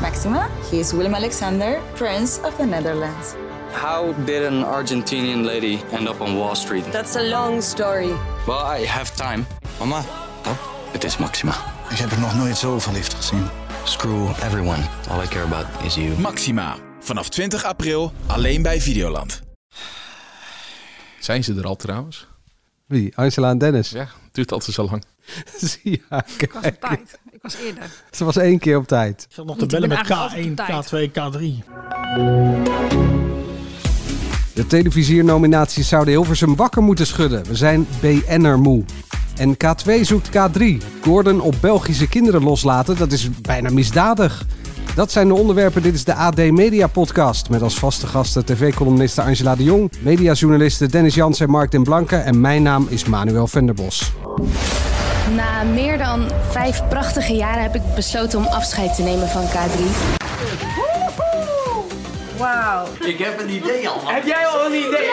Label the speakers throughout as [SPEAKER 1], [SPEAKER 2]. [SPEAKER 1] Maxima. He is Willem Alexander, Prince of the Netherlands.
[SPEAKER 2] How did an Argentinian lady end up on Wall Street?
[SPEAKER 3] That's a long story.
[SPEAKER 2] Well, I have time.
[SPEAKER 4] Mama,
[SPEAKER 2] Het is Maxima.
[SPEAKER 5] Ik Dus heb er nog nooit zo verliefd gezien.
[SPEAKER 2] Screw everyone. All I care about is you.
[SPEAKER 6] Maxima. Vanaf 20 april alleen bij Videoland.
[SPEAKER 7] Zijn ze er al trouwens?
[SPEAKER 8] Wie? Angela en Dennis.
[SPEAKER 7] Ja, het duurt altijd zo lang.
[SPEAKER 8] Zie je haar
[SPEAKER 9] Ik was
[SPEAKER 8] kijken.
[SPEAKER 9] op tijd. Ik was eerder.
[SPEAKER 8] Ze was één keer op tijd.
[SPEAKER 10] Ik zat nog te
[SPEAKER 9] Want ik
[SPEAKER 10] bellen
[SPEAKER 9] ben
[SPEAKER 10] met K1,
[SPEAKER 9] eigenlijk altijd
[SPEAKER 10] K2, K3.
[SPEAKER 8] De televisiernominaties zouden Hilversum wakker moeten schudden. We zijn BN'er moe. En K2 zoekt K3. Gordon op Belgische kinderen loslaten, dat is bijna misdadig. Dat zijn de onderwerpen. Dit is de AD Media Podcast. Met als vaste gasten tv-columniste Angela de Jong, mediajournalisten Dennis Jans en Mark den Blanke. En mijn naam is Manuel Venderbos.
[SPEAKER 11] Na meer dan vijf prachtige jaren heb ik besloten om afscheid te nemen van K3.
[SPEAKER 9] Wauw.
[SPEAKER 2] Ik heb een idee al.
[SPEAKER 3] Heb jij al een idee?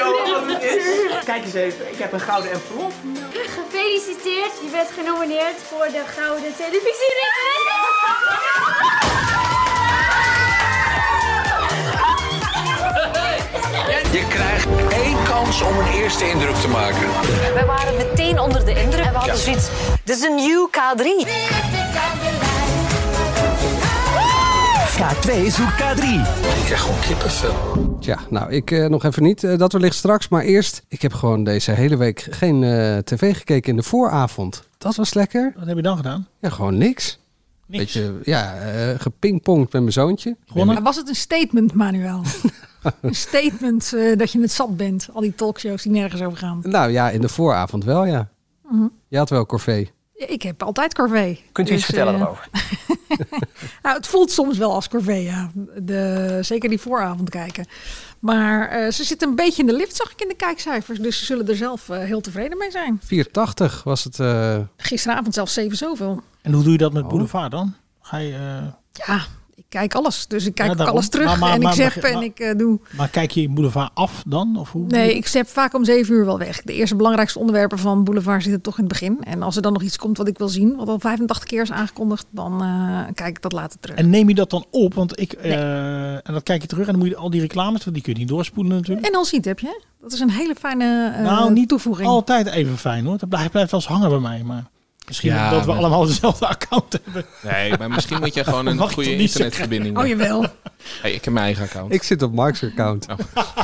[SPEAKER 3] Johan, wat het is? Kijk eens even, ik heb een gouden envelop.
[SPEAKER 11] Gefeliciteerd, je bent genomineerd voor de Gouden Televisie.
[SPEAKER 4] je krijgt één kans om een eerste indruk te maken.
[SPEAKER 3] Wij waren meteen onder de indruk. En we hadden zoiets, dit is een nieuw K3.
[SPEAKER 4] K2 zoekt K3. Ik krijg gewoon kippenvel.
[SPEAKER 8] Tja, nou, ik eh, nog even niet. Eh, dat wellicht straks. Maar eerst, ik heb gewoon deze hele week geen eh, tv gekeken in de vooravond. Dat was lekker.
[SPEAKER 10] Wat heb je dan gedaan?
[SPEAKER 8] Ja, gewoon niks.
[SPEAKER 10] Niks.
[SPEAKER 8] Beetje, ja, eh gepingpongd met mijn zoontje.
[SPEAKER 10] Gewonnen?
[SPEAKER 9] Maar was het een statement, Manuel? een statement eh, dat je het zat bent. Al die talkshows die nergens over gaan.
[SPEAKER 8] Nou ja, in de vooravond wel, ja. Je had wel corvée.
[SPEAKER 9] Mhm. Ja, Ik heb altijd corvée.
[SPEAKER 3] Kunt u iets vertellen
[SPEAKER 9] eh,
[SPEAKER 3] daarover?
[SPEAKER 9] Nou, het voelt soms wel als corvée, ja. De, zeker die vooravond kijken. Maar eh, ze zitten een beetje in de lift, zag ik in de kijkcijfers. Dus ze zullen er zelf eh, heel tevreden mee zijn.
[SPEAKER 8] 480 was het. eh,
[SPEAKER 9] Gisteravond zelfs zeven zoveel.
[SPEAKER 10] En hoe doe je dat met
[SPEAKER 8] Oh.
[SPEAKER 10] Boulevard dan? Ga je, eh,
[SPEAKER 9] Ja, ik kijk alles. Dus ik
[SPEAKER 10] Ja,
[SPEAKER 9] kijk ook
[SPEAKER 10] daarom.
[SPEAKER 9] alles terug.
[SPEAKER 10] Maar- maar-
[SPEAKER 9] en ik
[SPEAKER 10] maar-
[SPEAKER 9] zeg
[SPEAKER 10] maar-
[SPEAKER 9] en ik eh, doe.
[SPEAKER 10] maar kijk je Boulevard af dan? Of hoe?
[SPEAKER 9] Nee, ik zet vaak om zeven uur wel weg. De eerste belangrijkste onderwerpen van Boulevard zitten toch in het begin. En als er dan nog iets komt wat ik wil zien, wat al 85 keer is aangekondigd, dan eh, kijk ik dat later terug. En,
[SPEAKER 10] En neem je dat dan op? Want ik, eh, en dan kijk je terug en dan moet je al die reclames, want die kun je niet doorspoelen natuurlijk.
[SPEAKER 9] als iets heb je. hè? Dat is een hele fijne eh,
[SPEAKER 10] Nou, niet
[SPEAKER 9] toevoeging.
[SPEAKER 10] Altijd even fijn hoor. Dat blijft, blijft wel eens hangen bij mij. Maar misschien
[SPEAKER 7] Ja,
[SPEAKER 10] dat we
[SPEAKER 7] maar-
[SPEAKER 10] allemaal dezelfde account hebben.
[SPEAKER 7] Nee, maar misschien moet je gewoon een
[SPEAKER 10] Mag ik
[SPEAKER 7] goede
[SPEAKER 10] toch niet
[SPEAKER 7] internetverbinding
[SPEAKER 9] Oh
[SPEAKER 7] hebben.
[SPEAKER 9] jawel.
[SPEAKER 7] Hey, ik heb mijn eigen account.
[SPEAKER 8] ik zit op Mark's account.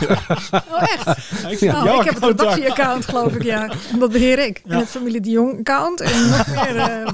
[SPEAKER 9] Oh echt?
[SPEAKER 10] Ik,
[SPEAKER 8] Ja.
[SPEAKER 9] Oh, ik heb het redactie-account geloof ik, ja. En Dat beheer ik. En het familie de Jong-account. En nog meer... eh,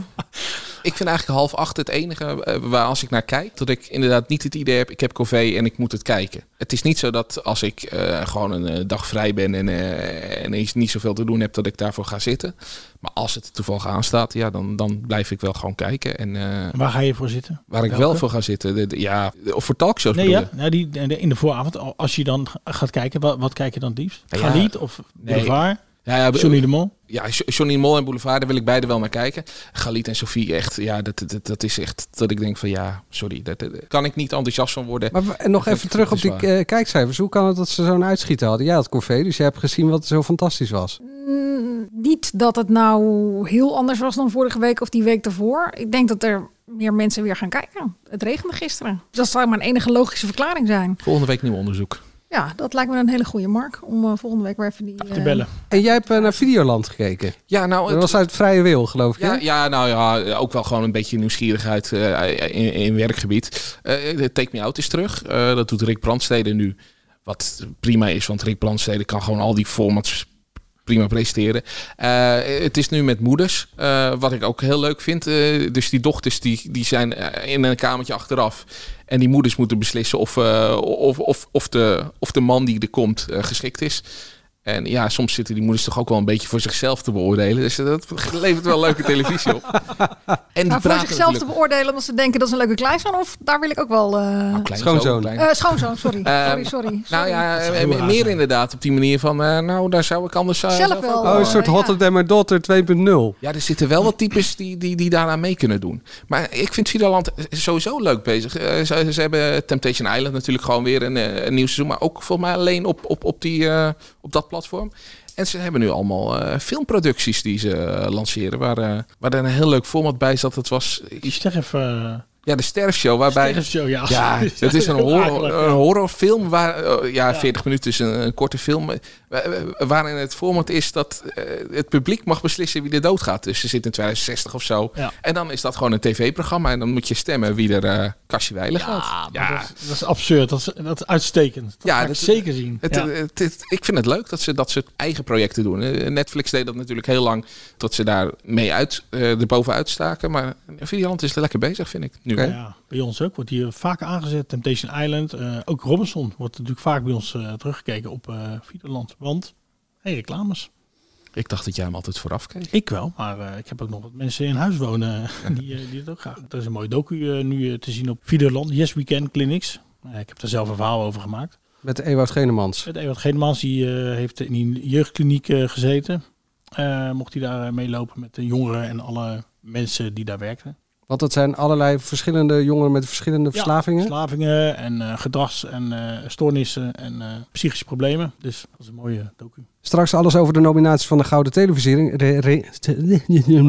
[SPEAKER 7] Ik vind eigenlijk half acht het enige eh, waar als ik naar kijk, dat ik inderdaad niet het idee heb, ik heb corvée en ik moet het kijken. Het is niet zo dat als ik eh, gewoon een eh, dag vrij ben en, eh en iets niet zoveel te doen heb, dat ik daarvoor ga zitten. Maar als het toevallig aanstaat, ja, dan, dan blijf ik wel gewoon kijken. En eh,
[SPEAKER 10] Waar ga je voor zitten?
[SPEAKER 7] waar ik wel
[SPEAKER 10] Welke?
[SPEAKER 7] voor ga zitten, de- de- ja, de- of voor talkshows
[SPEAKER 10] Nee,
[SPEAKER 7] bedoel
[SPEAKER 10] ja.
[SPEAKER 7] je?
[SPEAKER 10] Nou, die, de- in de vooravond, al- als je dan g- gaat kijken, wat, wat kijk je dan het liefst?
[SPEAKER 7] Ja.
[SPEAKER 10] Galit of Boulevard?
[SPEAKER 7] Ja, ja,
[SPEAKER 10] Johnny de Mol?
[SPEAKER 7] Ja, Jo- Johnny de Mol en Boulevard, daar wil ik beide wel naar kijken. Galit en Sophie, echt, ja, dat, dat, dat is echt dat ik denk van ja, sorry, daar daar- daar kan ik niet enthousiast van worden.
[SPEAKER 8] Maar w- en nog
[SPEAKER 7] Dat
[SPEAKER 8] even
[SPEAKER 7] is-
[SPEAKER 8] terug
[SPEAKER 7] dat
[SPEAKER 8] op
[SPEAKER 7] is
[SPEAKER 8] die
[SPEAKER 7] waar.
[SPEAKER 8] eh, kijkcijfers. Hoe kan het dat ze zo'n uitschieter hadden? Jij had corvée, dus jij hebt gezien wat zo fantastisch was.
[SPEAKER 9] Mm, niet dat het nou heel anders was dan vorige week of die week daarvoor. Ik denk dat er meer mensen weer gaan kijken. Het regende gisteren. Dus dat zou mijn enige logische verklaring zijn.
[SPEAKER 7] Volgende week nieuw onderzoek.
[SPEAKER 9] Ja, dat lijkt me een hele goede mark om eh, volgende week weer even die...
[SPEAKER 10] Te
[SPEAKER 9] eh,
[SPEAKER 10] bellen.
[SPEAKER 8] En jij hebt eh, naar Videoland gekeken.
[SPEAKER 7] Ja, nou,
[SPEAKER 8] Dat
[SPEAKER 7] het-
[SPEAKER 8] was uit vrije wil, geloof ik. hè?
[SPEAKER 7] ja, ja, nou ja, ook wel gewoon een beetje nieuwsgierigheid eh, in, in werkgebied. Eh, de Take Me Out is terug. Eh, dat doet Rick Brandstede nu. Wat prima is, want Rick Brandstede kan gewoon al die formats prima presteren. Eh, het is nu met moeders, eh, wat ik ook heel leuk vind. Eh, dus die dochters die, die zijn eh, in een kamertje achteraf. En die moeders moeten beslissen of, eh, of, of, of, de, of de man die er komt eh, geschikt is. En ja, soms zitten die moeders toch ook wel een beetje voor zichzelf te beoordelen. Dus dat levert wel leuke televisie op. En die
[SPEAKER 9] Nou, voor
[SPEAKER 7] praten
[SPEAKER 9] zichzelf te
[SPEAKER 7] natuurlijk-
[SPEAKER 9] beoordelen omdat ze denken dat is een leuke kleinzoon. Of daar wil ik ook wel... eh,
[SPEAKER 7] Nou, kleinzoon,
[SPEAKER 8] Schoonzoon.
[SPEAKER 7] klein-
[SPEAKER 9] eh, schoonzoon, sorry.
[SPEAKER 7] Eh,
[SPEAKER 9] sorry, sorry.
[SPEAKER 7] nou
[SPEAKER 9] sorry.
[SPEAKER 7] ja,
[SPEAKER 10] zou
[SPEAKER 7] eh,
[SPEAKER 10] heel raar
[SPEAKER 7] meer
[SPEAKER 10] zijn.
[SPEAKER 7] inderdaad op die manier van, eh, nou daar zou ik anders eh,
[SPEAKER 9] Zelf wel.
[SPEAKER 8] Oh, een soort
[SPEAKER 9] Ja.
[SPEAKER 8] Hotter Than My Daughter 2.0.
[SPEAKER 7] Ja, er zitten wel wat types die, die, die daaraan mee kunnen doen. Maar ik vind Videoland sowieso leuk bezig. Eh, Ze, ze hebben Temptation Island natuurlijk gewoon weer een, eh, een nieuw seizoen. Maar ook volgens mij alleen op, op, op, die, eh, op dat platform. En ze hebben nu allemaal eh, filmproducties die ze eh, lanceren. Waar, eh, waar er een heel leuk format bij zat. Dat was...
[SPEAKER 10] Ik zeg even, eh,
[SPEAKER 7] Ja, de sterfshow waarbij...
[SPEAKER 10] Sterfshow, ja.
[SPEAKER 7] Ja, het is een,
[SPEAKER 10] Heel
[SPEAKER 7] horror,
[SPEAKER 10] akelig, ja.
[SPEAKER 7] een horrorfilm. Waar, eh, ja, 40 minuten is een, een korte film. eh, wa- wa- Waarin het format is dat eh, het publiek mag beslissen wie er doodgaat. Dus ze zitten in 2060 of zo.
[SPEAKER 10] Ja.
[SPEAKER 7] En dan is dat gewoon een tv-programma. En dan moet je stemmen wie er eh kastje weilig gaat.
[SPEAKER 10] maar Dat, is, dat is absurd. Dat is, dat is uitstekend. Dat
[SPEAKER 7] Ja,
[SPEAKER 10] ga ik
[SPEAKER 7] dat-
[SPEAKER 10] zeker zien.
[SPEAKER 7] Het, eh,
[SPEAKER 10] Ja.
[SPEAKER 7] het- het- ik vind het leuk dat ze dat soort eigen projecten doen. Eh, Netflix deed dat natuurlijk heel lang tot ze daar mee uit, eh erbovenuit staken. Maar Videoland is lekker bezig, vind ik. Nu.
[SPEAKER 10] Ja, bij ons ook. Wordt hier vaak aangezet. Temptation Island. eh, ook Robinson wordt natuurlijk vaak bij ons eh, teruggekeken op eh Videoland. Want, hey, reclames.
[SPEAKER 7] Ik dacht dat jij hem altijd vooraf keek.
[SPEAKER 10] Ik wel, maar eh, ik heb ook nog wat mensen in huis wonen die, eh, die het ook graag. Er is een mooie docu eh, nu eh, te zien op Videoland. Yes Weekend Clinics. Eh, ik heb daar zelf een verhaal over gemaakt.
[SPEAKER 8] Met Ewout Genemans.
[SPEAKER 10] Het Ewart Genemans die eh, heeft in die jeugdkliniek eh, gezeten. Eh, mocht hij daar eh, meelopen met de jongeren en alle mensen die daar werkten.
[SPEAKER 8] Want dat zijn allerlei verschillende jongeren met verschillende verslavingen.
[SPEAKER 10] Verslavingen en eh, gedrags- en eh, stoornissen en eh, psychische problemen. Dus dat is een mooie docu.
[SPEAKER 8] Straks alles over de nominaties van de Gouden Televisiering. Re- re-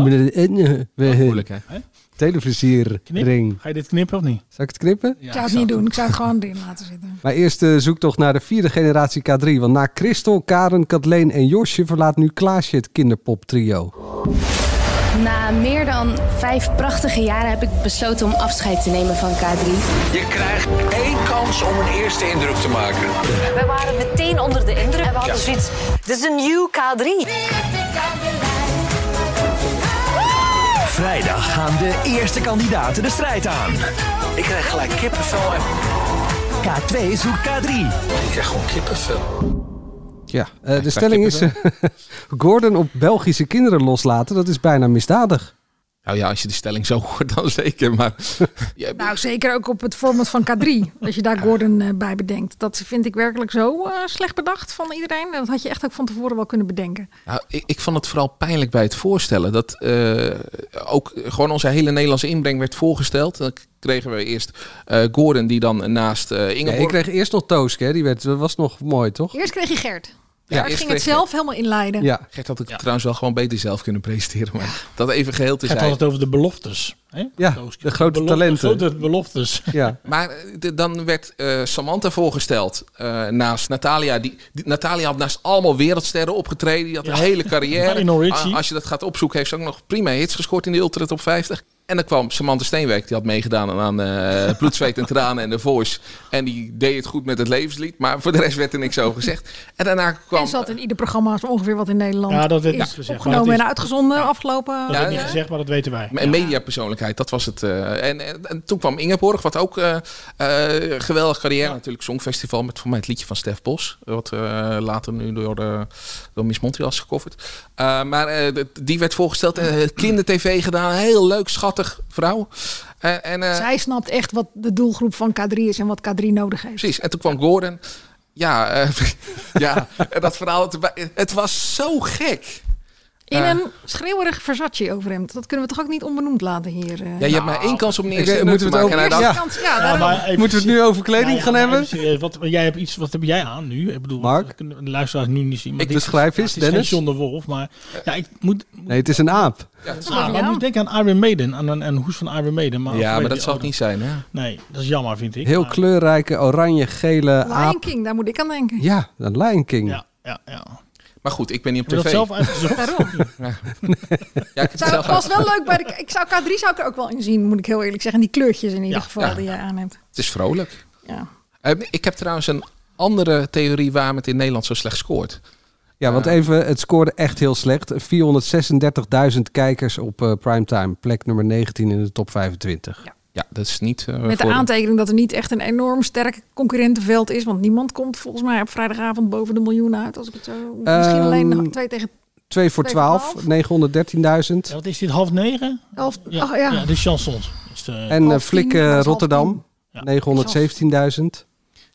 [SPEAKER 7] Moeilijk, hè?
[SPEAKER 8] Televisiering.
[SPEAKER 10] Ga je dit knippen of niet?
[SPEAKER 8] Zal ik het knippen?
[SPEAKER 9] Ik zou het niet doen. Ik zou het gewoon erin laten zitten.
[SPEAKER 8] Maar eerst de zoektocht naar de vierde generatie K3. Want na Christel, Karen, Kathleen en Josje verlaat nu Klaasje het kinderpoptrio.
[SPEAKER 11] Na meer dan vijf prachtige jaren heb ik besloten om afscheid te nemen van K3.
[SPEAKER 4] Je krijgt één kans om een eerste indruk te maken.
[SPEAKER 12] We waren meteen onder de indruk. En we hadden zoiets. Dit is een nieuw K3.
[SPEAKER 4] Vrijdag gaan de eerste kandidaten de strijd aan. Ik krijg gelijk kippenvel en... K2 zoekt K3. Ik krijg gewoon kippenvel.
[SPEAKER 8] Ja, eh, de stelling is... Gordon op Belgische kinderen loslaten, dat is bijna misdadig.
[SPEAKER 7] Nou ja, als je de stelling zo hoort, dan zeker. Maar Ja,
[SPEAKER 9] Nou, zeker ook op het format van K3. Als je daar Gordon eh, bij bedenkt. Dat vind ik werkelijk zo eh, slecht bedacht van iedereen. En Dat had je echt ook van tevoren wel kunnen bedenken.
[SPEAKER 7] Nou, ik, ik vond het vooral pijnlijk bij het voorstellen. Dat eh, ook gewoon onze hele Nederlandse inbreng werd voorgesteld. Dan kregen we eerst eh, Gordon, die dan naast eh
[SPEAKER 8] Ja,
[SPEAKER 7] Ingeborg...
[SPEAKER 8] ik kreeg eerst nog Tooske, hè. die werd, dat was nog mooi, toch?
[SPEAKER 9] Eerst kreeg je Gert.
[SPEAKER 7] Ja,
[SPEAKER 9] Gert
[SPEAKER 7] eerst
[SPEAKER 9] ging
[SPEAKER 7] kreeg
[SPEAKER 9] het zelf helemaal inleiden.
[SPEAKER 8] Ja,
[SPEAKER 7] Gert had ik trouwens wel gewoon beter zelf kunnen presenteren. Maar dat even geheel te
[SPEAKER 10] Je had
[SPEAKER 7] zijn.
[SPEAKER 10] het over de beloftes. Hè?
[SPEAKER 8] Dus Ja,
[SPEAKER 10] Doosje.
[SPEAKER 8] de grote
[SPEAKER 10] Belofte-
[SPEAKER 8] talenten.
[SPEAKER 10] grote beloftes.
[SPEAKER 8] ja.
[SPEAKER 7] Maar eh, de- dan werd eh, Samantha voorgesteld eh, naast Natalia. Die, die- Natalia had naast allemaal wereldsterren opgetreden. Die had een
[SPEAKER 10] Ja.
[SPEAKER 7] hele carrière.
[SPEAKER 10] Lionel Richie.
[SPEAKER 7] A- Als je dat gaat opzoeken, heeft ze ook nog prima hits gescoord in de Ultra Top 50. En dan kwam Samantha Steenwijk, die had meegedaan aan eh Bloed, Zweet en Tranen en The Voice. En die deed het goed met het levenslied, maar voor de rest werd er niks over gezegd. En daarna kwam...
[SPEAKER 9] En zat in ieder programma zo ongeveer wat in Nederland
[SPEAKER 10] Ja, dat werd
[SPEAKER 9] is
[SPEAKER 10] niet gezegd, maar
[SPEAKER 9] opgenomen
[SPEAKER 10] dat is-
[SPEAKER 9] en uitgezonden afgelopen...
[SPEAKER 10] Dat heb
[SPEAKER 7] Ja,
[SPEAKER 10] ik niet
[SPEAKER 7] ja.
[SPEAKER 10] gezegd, maar dat weten wij.
[SPEAKER 7] Een mediapersoonlijkheid, dat was het. eh. en, en, en toen kwam Ingeborg, wat ook eh eh, geweldig carrière natuurlijk. Songfestival met voor mij het liedje van Stef Bos. Wat eh, later nu door, eh, door Miss Montreal is gecoverd. Eh, maar eh, de- die werd voorgesteld. en het kindertv gedaan. Een Heel leuk, schattig vrouw. Eh, en, eh,
[SPEAKER 9] Zij snapt echt wat de doelgroep van K3 is en wat K3 nodig heeft.
[SPEAKER 7] Precies. En toen kwam Gordon. Ja, eh, ja en dat verhaal. erbij. Het was zo gek.
[SPEAKER 9] In
[SPEAKER 7] Eh.
[SPEAKER 9] een schreeuwerig Versace overhemd. Dat kunnen we toch ook niet onbennoemd laten hier. eh?
[SPEAKER 7] Ja, nou, je hebt maar één kans om de
[SPEAKER 8] Oké,
[SPEAKER 7] eerste indruk te
[SPEAKER 8] moeten we het
[SPEAKER 7] maken. En hij
[SPEAKER 8] ook-
[SPEAKER 7] dacht,
[SPEAKER 9] Eerste kans, ja,
[SPEAKER 10] Ja,
[SPEAKER 9] daarom.
[SPEAKER 10] maar even Nou
[SPEAKER 8] Moeten we het nu over kleding gaan
[SPEAKER 10] maar
[SPEAKER 8] hebben?
[SPEAKER 10] even serieus, wat, wat jij hebt iets, wat heb jij aan nu? Ik bedoel,
[SPEAKER 8] Mark?
[SPEAKER 10] we kunnen de luisteraars nu niet zien. Maar
[SPEAKER 7] Ik
[SPEAKER 10] dit-
[SPEAKER 8] beschrijf eens,
[SPEAKER 10] het is
[SPEAKER 8] Dennis.
[SPEAKER 10] John de Wolf, maar ja, ik moet, moet
[SPEAKER 8] Nee, het is een aap.
[SPEAKER 9] Dat mag
[SPEAKER 10] aan.
[SPEAKER 9] niet
[SPEAKER 10] Maar ik
[SPEAKER 9] aan.
[SPEAKER 10] moest denken aan Iron Maiden, aan een, een hoes van Iron Maiden. Maar
[SPEAKER 7] ja, maar
[SPEAKER 10] vanwege
[SPEAKER 7] dat
[SPEAKER 10] die
[SPEAKER 7] zal het
[SPEAKER 10] oude-
[SPEAKER 7] niet zijn. Hè?
[SPEAKER 10] Nee, dat is jammer, vind ik.
[SPEAKER 8] Heel
[SPEAKER 10] Maar-
[SPEAKER 8] kleurrijke, oranje, gele
[SPEAKER 9] Lion
[SPEAKER 8] aap.
[SPEAKER 9] King, daar moet ik aan denken.
[SPEAKER 8] Ja, de Lion King.
[SPEAKER 10] Ja, ja, ja. Heb
[SPEAKER 7] Maar goed, ik ben niet op
[SPEAKER 10] je dat
[SPEAKER 7] tv.
[SPEAKER 10] zelf uitgezocht?
[SPEAKER 7] Ja, ik heb het
[SPEAKER 9] Zou,
[SPEAKER 7] zelf
[SPEAKER 9] het was wel leuk bij de... Ik zou K3 zou ik er ook wel in zien, moet ik heel eerlijk zeggen. Die kleurtjes in ieder
[SPEAKER 10] Ja,
[SPEAKER 9] geval
[SPEAKER 7] ja.
[SPEAKER 9] die jij aan hebt.
[SPEAKER 7] Het is vrolijk.
[SPEAKER 9] Ja.
[SPEAKER 7] Eh, Ik heb trouwens een andere theorie waarom het in Nederland zo slecht scoort.
[SPEAKER 8] Ja, want even, het scoorde echt heel slecht. 436.000 kijkers op eh, primetime. Plek nummer 19 in de top 25.
[SPEAKER 7] Ja, dat is niet. eh,
[SPEAKER 9] Met de
[SPEAKER 7] voor-
[SPEAKER 9] aantekening dat er niet echt een enorm sterk concurrentenveld is. Want niemand komt volgens mij op vrijdagavond boven de miljoen uit. Als ik het zo... Misschien
[SPEAKER 8] Ehm,
[SPEAKER 9] alleen twee tegen
[SPEAKER 8] 2 voor
[SPEAKER 9] Twee
[SPEAKER 8] 12,
[SPEAKER 9] voor
[SPEAKER 8] 913.000.
[SPEAKER 10] Ja, wat is dit, half negen?
[SPEAKER 9] elf.
[SPEAKER 10] Ja,
[SPEAKER 9] oh, ja.
[SPEAKER 10] de chansons. Dus de-
[SPEAKER 8] En eh
[SPEAKER 9] Half
[SPEAKER 8] Flik
[SPEAKER 9] tien,
[SPEAKER 8] eh,
[SPEAKER 9] was half
[SPEAKER 8] Rotterdam,
[SPEAKER 10] tien.
[SPEAKER 8] 917.000.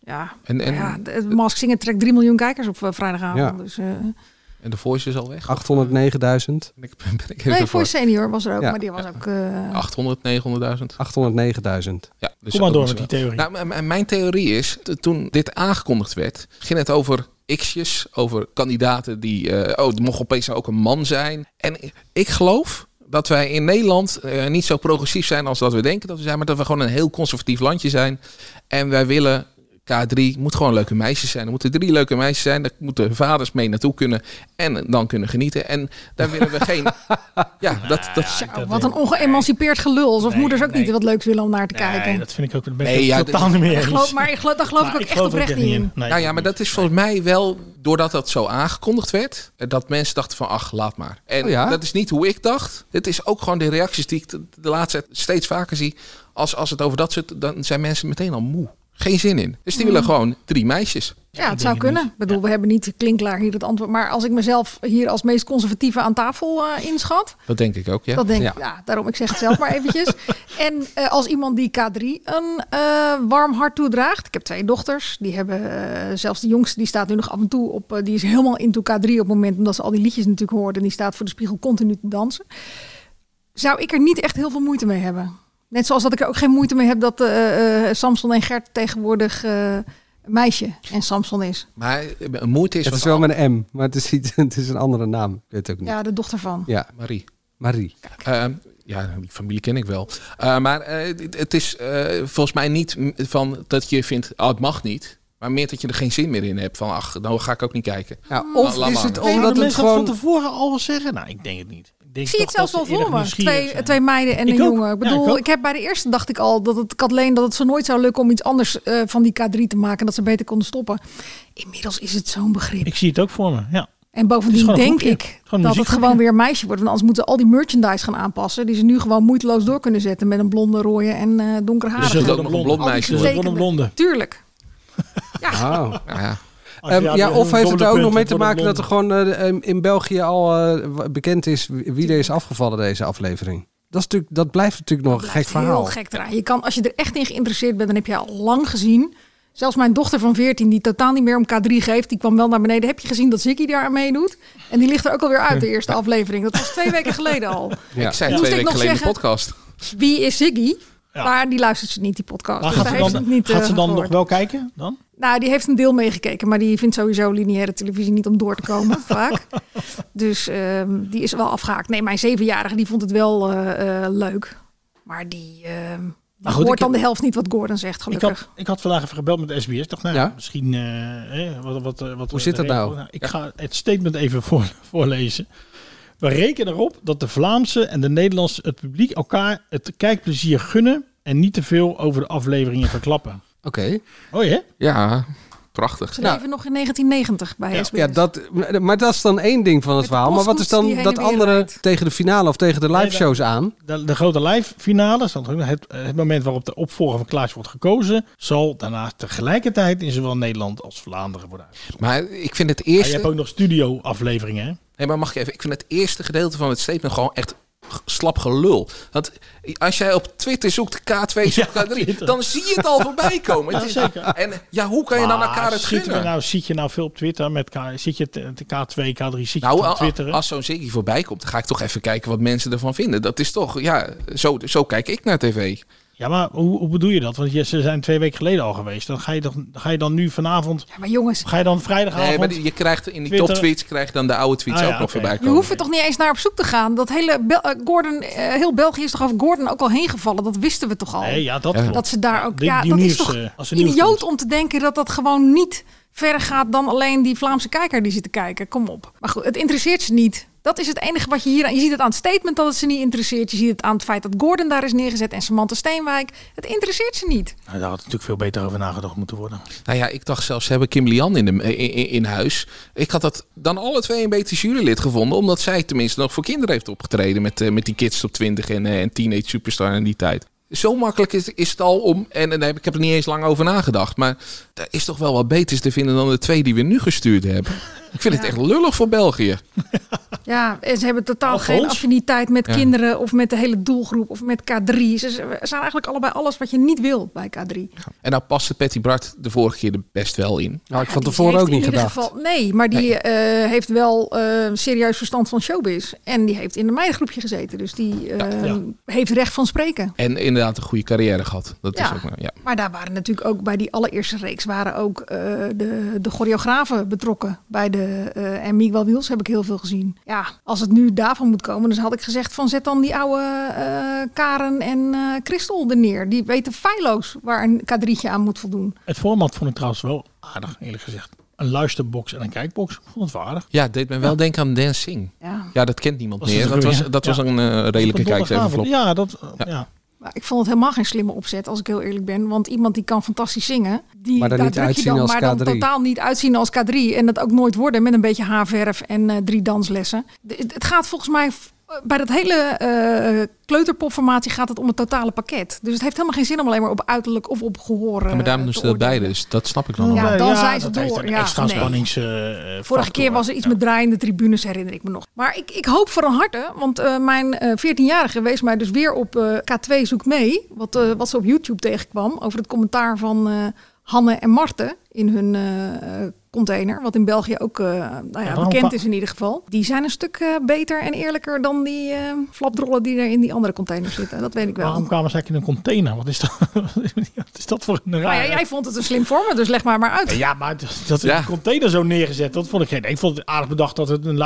[SPEAKER 9] Ja,
[SPEAKER 7] En, en,
[SPEAKER 9] ja, de- het Mask Singer trekt 3 miljoen kijkers op eh, vrijdagavond.
[SPEAKER 8] Ja.
[SPEAKER 9] Dus, eh,
[SPEAKER 7] en de voice is al weg.
[SPEAKER 8] 809.000.
[SPEAKER 7] Ben ik, ben ik even
[SPEAKER 9] nee,
[SPEAKER 7] voor.
[SPEAKER 9] voor senior was er ook,
[SPEAKER 8] Ja.
[SPEAKER 9] maar die was ook... eh,
[SPEAKER 7] 800, 900.000.
[SPEAKER 8] 809.000.
[SPEAKER 7] Ja, dus
[SPEAKER 10] Kom maar
[SPEAKER 7] dat
[SPEAKER 10] door
[SPEAKER 7] doen
[SPEAKER 10] met
[SPEAKER 7] ze
[SPEAKER 10] die
[SPEAKER 7] wel.
[SPEAKER 10] theorie.
[SPEAKER 7] Nou, m- m- mijn theorie is, t- toen dit aangekondigd werd, ging het over x'jes, over kandidaten die... eh, oh, het mocht opeens ook een man zijn. En ik geloof dat wij in Nederland eh, niet zo progressief zijn als dat we denken dat we zijn, maar dat we gewoon een heel conservatief landje zijn. En wij willen K3 moet gewoon leuke meisjes zijn. Er moeten drie leuke meisjes zijn. Daar moeten vaders mee naartoe kunnen en dan kunnen genieten. En daar willen we geen. Ja, dat, dat
[SPEAKER 9] Oh, wat een ongeëmancipeerd gelul. Alsof moeders ook niet wat leuks willen om naar te kijken.
[SPEAKER 10] dat vind ik ook een beetje
[SPEAKER 7] Nee, ja,
[SPEAKER 10] totaal
[SPEAKER 7] dit-
[SPEAKER 10] niet meer
[SPEAKER 9] Ik
[SPEAKER 10] eens.
[SPEAKER 9] geloof, maar ik geloof, daar geloof
[SPEAKER 10] Maar
[SPEAKER 9] ik ook
[SPEAKER 10] ik
[SPEAKER 9] echt
[SPEAKER 10] geloof
[SPEAKER 9] oprecht
[SPEAKER 10] ook echt
[SPEAKER 9] niet
[SPEAKER 10] niet
[SPEAKER 9] in.
[SPEAKER 10] in. Nee,
[SPEAKER 7] nou ja, maar dat is volgens mij wel doordat dat zo aangekondigd werd, eh, dat mensen dachten van ach, laat maar. En
[SPEAKER 8] Oh ja?
[SPEAKER 7] dat is niet hoe ik dacht. Het is ook gewoon de reacties die ik de, de laatste tijd steeds vaker zie. Als, als het over dat soort, dan zijn mensen meteen al moe. Geen zin in. Dus die
[SPEAKER 9] Mm.
[SPEAKER 7] willen gewoon drie meisjes.
[SPEAKER 9] Ja, het zou kunnen. Ik bedoel, we hebben niet klinklaar hier het antwoord. Maar als ik mezelf hier als meest conservatieve aan tafel eh, inschat,
[SPEAKER 7] Dat denk ik ook, ja.
[SPEAKER 9] dat denk
[SPEAKER 7] ja.
[SPEAKER 9] ik, ja, daarom ik zeg het zelf maar eventjes. En eh, als iemand die K3 een eh, warm hart toedraagt. Ik heb twee dochters, die hebben eh, zelfs de jongste, die staat nu nog af en toe op, eh, die is helemaal into K3 op het moment, omdat ze al die liedjes natuurlijk hoort en die staat voor de spiegel continu te dansen. Zou ik er niet echt heel veel moeite mee hebben. Net zoals dat ik er ook geen moeite mee heb dat eh, eh, Samson en Gert tegenwoordig eh, meisje en Samson is.
[SPEAKER 7] Maar een moeite is...
[SPEAKER 8] Het is
[SPEAKER 7] want-
[SPEAKER 8] wel met een M, maar het is, niet, het is een andere naam. Ik weet het ook niet.
[SPEAKER 9] Ja, de dochter van.
[SPEAKER 8] Ja.
[SPEAKER 7] Marie.
[SPEAKER 8] Marie.
[SPEAKER 7] Ehm, ja, die familie ken ik wel. Eh, maar eh, dit- het is eh, volgens mij niet m- van dat je vindt, oh, het mag niet. Maar meer dat je er geen zin meer in hebt. Van ach, nou ga ik ook niet kijken.
[SPEAKER 8] Ja,
[SPEAKER 7] La-
[SPEAKER 8] of
[SPEAKER 7] laat
[SPEAKER 8] is
[SPEAKER 7] maar.
[SPEAKER 8] het
[SPEAKER 10] Zouden
[SPEAKER 8] omdat het
[SPEAKER 10] mensen
[SPEAKER 8] gewoon...
[SPEAKER 10] dat van tevoren al wel zeggen? Nou, ik denk het niet. Ik, denk
[SPEAKER 9] Ik zie het
[SPEAKER 10] toch
[SPEAKER 9] zelfs
[SPEAKER 10] dat
[SPEAKER 9] wel
[SPEAKER 10] ze eerder
[SPEAKER 9] voor me.
[SPEAKER 10] nieuwsgierig
[SPEAKER 9] Twee,
[SPEAKER 10] zijn.
[SPEAKER 9] twee meiden en
[SPEAKER 10] Ik
[SPEAKER 9] een
[SPEAKER 10] ook.
[SPEAKER 9] jongen. Ik
[SPEAKER 10] Ja, ik
[SPEAKER 9] bedoel,
[SPEAKER 10] ook.
[SPEAKER 9] ik, heb bij de eerste dacht ik al dat het Kathleen dat het zo nooit zou lukken om iets anders eh, van die K3 te maken. Dat ze beter konden stoppen. Inmiddels is het zo'n begrip.
[SPEAKER 10] Ik zie het ook voor me, ja.
[SPEAKER 9] En bovendien
[SPEAKER 10] Het is gewoon een
[SPEAKER 9] denk
[SPEAKER 10] groepje.
[SPEAKER 9] ik
[SPEAKER 10] Gewoon
[SPEAKER 9] dat
[SPEAKER 10] muziek
[SPEAKER 9] het gewoon weer een meisje wordt. Want anders moeten ze al die merchandise gaan aanpassen. Die ze nu gewoon moeiteloos door kunnen zetten. Met een blonde, rode en eh
[SPEAKER 7] Dus Er
[SPEAKER 9] donkerharige.
[SPEAKER 7] zult ook nog een blond
[SPEAKER 9] Al die
[SPEAKER 7] meisje worden.
[SPEAKER 10] wordt een
[SPEAKER 9] getekende.
[SPEAKER 10] blonde.
[SPEAKER 9] Tuurlijk.
[SPEAKER 8] Wauw.
[SPEAKER 7] Nou Ja.
[SPEAKER 10] Als
[SPEAKER 8] Ehm,
[SPEAKER 10] je- dus
[SPEAKER 8] ja, of
[SPEAKER 10] een
[SPEAKER 8] heeft het
[SPEAKER 10] dubbele
[SPEAKER 8] er ook
[SPEAKER 10] punt,
[SPEAKER 8] nog mee te
[SPEAKER 10] het wordt
[SPEAKER 8] maken
[SPEAKER 10] een
[SPEAKER 8] dat er
[SPEAKER 10] blonde.
[SPEAKER 8] gewoon eh, ehm, in België al eh, w- bekend is wie wie er is afgevallen deze aflevering? Dat, is natuurlijk, dat blijft natuurlijk nog een gek
[SPEAKER 9] Heel
[SPEAKER 8] verhaal.
[SPEAKER 9] gek draaien. Je kan, als je er echt in geïnteresseerd bent, dan heb je al lang gezien. Zelfs mijn dochter van 14, die totaal niet meer om K3 geeft, die kwam wel naar beneden. Heb je gezien dat Ziggy daar aan meedoet? En die ligt er ook alweer uit, de eerste aflevering. Dat was twee weken geleden al.
[SPEAKER 8] Ja.
[SPEAKER 7] Ik zei
[SPEAKER 9] Moest
[SPEAKER 7] twee
[SPEAKER 9] ik
[SPEAKER 7] weken
[SPEAKER 9] nog
[SPEAKER 7] geleden in de
[SPEAKER 9] zeggen?
[SPEAKER 7] podcast.
[SPEAKER 9] Wie is Ziggy?
[SPEAKER 10] Ja.
[SPEAKER 9] Maar die luistert ze niet, die podcast.
[SPEAKER 10] Maar
[SPEAKER 9] Dus
[SPEAKER 10] gaat
[SPEAKER 9] daar
[SPEAKER 10] ze
[SPEAKER 9] heeft ze
[SPEAKER 10] dan,
[SPEAKER 9] het niet,
[SPEAKER 10] gaat
[SPEAKER 9] eh,
[SPEAKER 10] ze dan nog
[SPEAKER 9] gehoord.
[SPEAKER 10] wel kijken? Dan?
[SPEAKER 9] Nou, die heeft een deel meegekeken, maar die vindt sowieso lineaire televisie niet om door te komen vaak. Dus ehm, die is wel afgehaakt. Nee, mijn zevenjarige die vond het wel eh, eh, leuk. Maar die, ehm die
[SPEAKER 10] Maar goed,
[SPEAKER 9] hoort
[SPEAKER 10] ik
[SPEAKER 9] dan
[SPEAKER 10] heb-
[SPEAKER 9] de helft niet wat Gordon zegt,
[SPEAKER 10] Ik
[SPEAKER 9] gelukkig.
[SPEAKER 10] had, ik had vandaag even gebeld met SBS. Ik dacht, nou,
[SPEAKER 8] Ja?
[SPEAKER 10] misschien... eh, eh, wat, wat, eh, wat,
[SPEAKER 8] Hoe zit dat nou?
[SPEAKER 10] ik ga het statement even voor, voorlezen. We rekenen erop dat de Vlaamse en de Nederlandse het publiek elkaar het kijkplezier gunnen... en niet te veel over de afleveringen verklappen.
[SPEAKER 8] Oké.
[SPEAKER 10] Oh ja?
[SPEAKER 7] Ja, prachtig.
[SPEAKER 9] Ze leven nog in 1990 bij SBS.
[SPEAKER 8] Ja, dat, maar dat is dan één ding van het verhaal. Maar wat is
[SPEAKER 9] postkoets
[SPEAKER 8] dan
[SPEAKER 9] die heen
[SPEAKER 8] dat
[SPEAKER 9] en weer
[SPEAKER 8] andere
[SPEAKER 9] rijdt.
[SPEAKER 8] tegen de finale of tegen de
[SPEAKER 10] Nee,
[SPEAKER 8] live shows aan?
[SPEAKER 10] De, de grote live finale, stond ook nog het, het moment waarop de opvolger van Klaas wordt gekozen... zal daarna tegelijkertijd in zowel Nederland als Vlaanderen worden uitgezonden.
[SPEAKER 7] Maar ik vind het
[SPEAKER 10] Maar je
[SPEAKER 7] eerste...
[SPEAKER 10] hebt ook nog studio-afleveringen, hè?
[SPEAKER 7] Nee, maar mag ik even? Ik vind het eerste gedeelte van het statement gewoon echt g- slap gelul. Want als jij op Twitter zoekt K2, zoekt
[SPEAKER 10] Ja,
[SPEAKER 7] K3,
[SPEAKER 10] Twitter.
[SPEAKER 7] dan zie je het al voorbij komen. Het is-
[SPEAKER 10] zeker.
[SPEAKER 7] En ja, hoe kan je dan
[SPEAKER 10] Maar
[SPEAKER 7] elkaar het
[SPEAKER 10] zitten we
[SPEAKER 7] gunnen?
[SPEAKER 10] nou, zit je nou veel op Twitter met K, zit je te- te K2, K3, zit je
[SPEAKER 7] Nou,
[SPEAKER 10] te
[SPEAKER 7] a- a-
[SPEAKER 10] twitteren?
[SPEAKER 7] als zo'n ziggy voorbij komt, dan ga ik toch even kijken wat mensen ervan vinden. Dat is toch, ja, zo, zo kijk ik naar tv.
[SPEAKER 10] Ja, maar hoe, hoe bedoel je dat? Want je- ze zijn twee weken geleden al geweest. Dan ga je, toch, ga je dan nu vanavond,
[SPEAKER 9] Ja, maar jongens,
[SPEAKER 10] ga je dan vrijdagavond...
[SPEAKER 7] Nee, maar die- je krijgt in die
[SPEAKER 10] Twitter.
[SPEAKER 7] toptweets krijg je dan de oude tweets
[SPEAKER 10] Ah,
[SPEAKER 7] ook
[SPEAKER 10] ja,
[SPEAKER 7] nog
[SPEAKER 10] oké.
[SPEAKER 7] voorbij
[SPEAKER 9] je
[SPEAKER 7] komen.
[SPEAKER 9] hoeft er toch niet eens naar op zoek te gaan. Dat hele Bel- eh, Gordon, eh, heel België is toch over Gordon ook al heen gevallen. Dat wisten we toch al.
[SPEAKER 10] Nee, ja, dat
[SPEAKER 7] Ja.
[SPEAKER 10] klopt.
[SPEAKER 9] Dat ze daar ook.
[SPEAKER 10] Die-
[SPEAKER 9] ja,
[SPEAKER 10] die
[SPEAKER 9] dat is
[SPEAKER 10] nieuws,
[SPEAKER 9] toch
[SPEAKER 10] eh, als er nieuws
[SPEAKER 9] idioot
[SPEAKER 10] komt.
[SPEAKER 9] om te denken dat dat gewoon niet verder gaat dan alleen die Vlaamse kijker die zit te kijken. Kom op. Maar goed, het interesseert ze niet. Dat is het enige wat je hier aan. Je ziet het aan het statement dat het ze niet interesseert. Je ziet het aan het feit dat Gordon daar is neergezet en Samantha Steenwijk. Het interesseert ze niet.
[SPEAKER 10] Nou, daar had natuurlijk veel beter over nagedacht moeten worden.
[SPEAKER 7] Nou ja, ik dacht zelfs, ze hebben Kim Lian in, de, in, in- in huis. Ik had dat dan alle twee een beetje jurylid gevonden. Omdat zij tenminste nog voor kinderen heeft opgetreden. Met, eh, met die Kids op 20 en, eh, en Teenage Superstar in die tijd. Zo makkelijk is, is het al om... En, en daar heb ik heb er niet eens lang over nagedacht. Maar er is toch wel wat beters te vinden dan de twee die we nu gestuurd hebben. Ik vind het echt lullig voor België.
[SPEAKER 9] Ja, en ze hebben totaal
[SPEAKER 10] Al voor
[SPEAKER 9] geen
[SPEAKER 10] ons?
[SPEAKER 9] affiniteit met
[SPEAKER 7] Ja.
[SPEAKER 9] kinderen of met de hele doelgroep of met K3. Ze z- zijn eigenlijk allebei alles wat je niet wil bij K3.
[SPEAKER 7] En nou paste Patty Bart de vorige keer er best wel in.
[SPEAKER 8] Nou, ik
[SPEAKER 9] Ja,
[SPEAKER 8] van
[SPEAKER 9] die
[SPEAKER 8] tevoren
[SPEAKER 9] heeft
[SPEAKER 8] ook niet
[SPEAKER 9] in ieder
[SPEAKER 8] gedacht.
[SPEAKER 9] geval- nee, maar die eh, heeft wel eh, serieus verstand van showbiz. En die heeft in een meidengroepje gezeten. Dus die eh,
[SPEAKER 10] ja.
[SPEAKER 9] heeft recht van spreken.
[SPEAKER 7] En inderdaad een goede carrière gehad. Dat
[SPEAKER 9] Ja.
[SPEAKER 7] is ook, ja.
[SPEAKER 9] Maar daar waren natuurlijk ook bij die allereerste reeks waren ook eh, de, de choreografen betrokken bij de. eh en Miguel Wiels heb ik heel veel gezien. Ja, als het nu daarvan moet komen, dan had ik gezegd: van zet dan die oude eh, Karen en eh Christel er neer. Die weten feilloos waar een kadrietje aan moet voldoen.
[SPEAKER 10] Het format vond ik trouwens wel aardig, eerlijk gezegd. Een luisterbox en een kijkbox. Ik vond het wel aardig.
[SPEAKER 7] Ja, het deed me wel denken aan Dancing.
[SPEAKER 9] Ja.
[SPEAKER 7] dat kent niemand
[SPEAKER 10] Was
[SPEAKER 7] meer.
[SPEAKER 10] het
[SPEAKER 7] Dat
[SPEAKER 10] ook,
[SPEAKER 7] was,
[SPEAKER 10] ja?
[SPEAKER 7] dat was
[SPEAKER 10] Ja.
[SPEAKER 7] een eh, redelijke
[SPEAKER 10] Op een
[SPEAKER 7] kijkcijferflop.
[SPEAKER 10] donderdagavond. Ja, dat... eh, Ja.
[SPEAKER 9] Maar ik vond het helemaal geen slimme opzet, als ik heel eerlijk ben. Want iemand die kan fantastisch zingen, die
[SPEAKER 8] Maar dan
[SPEAKER 9] daar
[SPEAKER 8] niet
[SPEAKER 9] druk je
[SPEAKER 8] uitzien
[SPEAKER 9] dan,
[SPEAKER 8] als
[SPEAKER 9] maar dan
[SPEAKER 8] K3.
[SPEAKER 9] totaal niet uitzien als K3. En dat ook nooit worden met een beetje haarverf en eh, drie danslessen. De- het- het gaat volgens mij, v- bij dat hele eh, kleuterpopformatie gaat het om het totale pakket. Dus het heeft helemaal geen zin om alleen maar op uiterlijk of op gehoor eh,
[SPEAKER 7] Ja, maar daarom doen ze dat bij, dus dat snap ik dan wel.
[SPEAKER 9] Ja, dan zijn ze
[SPEAKER 10] dat
[SPEAKER 9] door.
[SPEAKER 10] heeft een
[SPEAKER 9] Ja,
[SPEAKER 10] extra
[SPEAKER 9] nee.
[SPEAKER 10] spannings... eh,
[SPEAKER 9] Vorige
[SPEAKER 10] factor,
[SPEAKER 9] keer was er iets met draaiende tribunes, herinner ik me nog. Maar ik, ik hoop van harte, want eh, mijn eh, 14-jarige wees mij dus weer op eh, K2 Zoek mee. Wat, eh, wat ze op YouTube tegenkwam over het commentaar van eh, Hanne en Marten in hun eh, eh, container. Wat in België ook eh, nou ja,
[SPEAKER 10] waarom
[SPEAKER 9] bekend
[SPEAKER 10] pa-
[SPEAKER 9] is in ieder geval. Die zijn een stuk eh, beter en eerlijker dan die eh, flapdrollen die er in die andere container zitten. Dat weet ik wel.
[SPEAKER 10] Waarom kwamen ze eigenlijk in een container? Wat is dat, wat is dat voor een
[SPEAKER 9] Nou ja,
[SPEAKER 10] raar...
[SPEAKER 9] jij vond het een slim format, dus leg maar maar uit.
[SPEAKER 10] Ja, maar dat, dat in een container zo neergezet, dat vond ik geen. Ik vond het aardig bedacht dat het een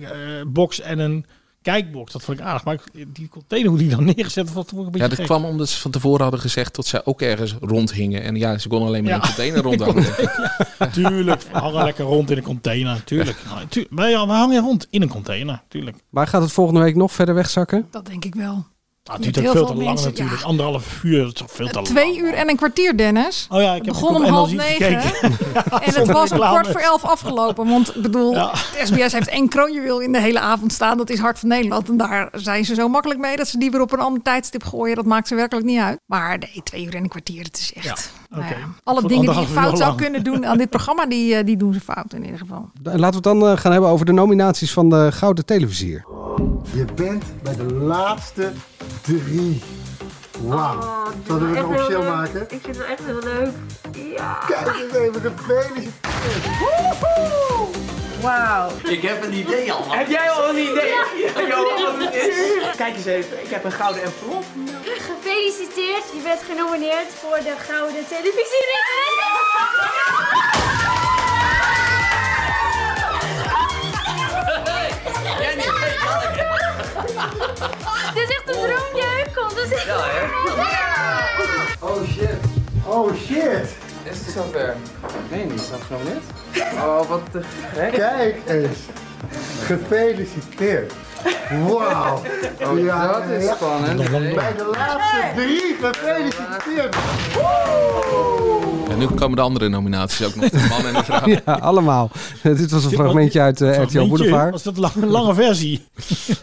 [SPEAKER 10] luisterbox en een kijkbox, dat vond ik aardig. Maar ik- die container, hoe die dan neergezet, dat vond ik een beetje
[SPEAKER 7] Ja, dat
[SPEAKER 10] gek.
[SPEAKER 7] kwam omdat ze van tevoren hadden gezegd dat zij ook ergens rondhingen. En ja, ze konden alleen maar
[SPEAKER 10] Ja.
[SPEAKER 7] in een container rondhangen.
[SPEAKER 10] Tuurlijk, we hangen lekker rond in een container. Tuurlijk. Nou, tuur- wij we hangen rond in een container, tuurlijk.
[SPEAKER 8] Maar gaat het volgende week nog verder wegzakken?
[SPEAKER 9] Dat denk ik wel.
[SPEAKER 10] Nou,
[SPEAKER 9] Je
[SPEAKER 10] het duurt
[SPEAKER 9] hebt
[SPEAKER 10] ook
[SPEAKER 9] heel
[SPEAKER 10] veel te
[SPEAKER 9] veel
[SPEAKER 10] lang
[SPEAKER 9] mensen,
[SPEAKER 10] natuurlijk. Anderhalf uur, dat is toch veel te lang.
[SPEAKER 9] Twee uur en een kwartier, Dennis.
[SPEAKER 10] Oh ja, ik
[SPEAKER 9] Het
[SPEAKER 10] heb
[SPEAKER 9] begon
[SPEAKER 10] het
[SPEAKER 9] om
[SPEAKER 10] op
[SPEAKER 9] half
[SPEAKER 10] NRC
[SPEAKER 9] negen.
[SPEAKER 10] gekeken.
[SPEAKER 9] En het
[SPEAKER 10] Zonder
[SPEAKER 9] was om
[SPEAKER 10] reclame.
[SPEAKER 9] kwart voor elf afgelopen. Want ik bedoel,
[SPEAKER 10] Ja.
[SPEAKER 9] de SBS heeft één kroonjuweel in de hele avond staan. Dat is Hart van Nederland. En daar zijn ze zo makkelijk mee dat ze die weer op een ander tijdstip gooien. Dat maakt ze werkelijk niet uit. Maar nee, twee uur en een kwartier, het is echt... nou ja,
[SPEAKER 10] oké.
[SPEAKER 9] alle
[SPEAKER 10] Voor
[SPEAKER 9] dingen die je
[SPEAKER 10] anderhalf uur
[SPEAKER 9] fout zou
[SPEAKER 10] lang.
[SPEAKER 9] kunnen doen aan dit programma, die, eh, die doen ze fout in ieder geval.
[SPEAKER 8] Laten we het dan eh, gaan hebben over de nominaties van de Gouden Televisier.
[SPEAKER 13] Je bent bij de laatste drie. Wauw. Zullen we het officieel maken?
[SPEAKER 14] Ik vind het echt heel leuk. Ja.
[SPEAKER 13] Kijk eens even, gefeliciteerd. Woehoe!
[SPEAKER 3] Wauw.
[SPEAKER 13] Ik heb een idee al.
[SPEAKER 3] Heb jij al een idee?
[SPEAKER 14] Ja.
[SPEAKER 3] joh, wat het is? Kijk eens even, ik heb een gouden envelop.
[SPEAKER 14] Gefeliciteerd, je bent genomineerd voor de Gouden Televisie. Dit is echt een droomjeuk, want het is
[SPEAKER 13] Ja, hè? Oh shit. Oh shit. Is het zover? Nee, niet. Is dat net? Oh, wat te gek. Kijk eens. Gefeliciteerd. Wauw.
[SPEAKER 2] Oh, dat is
[SPEAKER 13] ja.
[SPEAKER 2] spannend.
[SPEAKER 13] Bij de laatste drie, gefeliciteerd.
[SPEAKER 7] En nu komen de andere nominaties ook nog. De man en de vrouw.
[SPEAKER 8] Ja, allemaal. Dit was een fragmentje uit eh, RTL
[SPEAKER 10] Fragmentje,
[SPEAKER 8] Boulevard.
[SPEAKER 10] Was dat een lange, lange versie?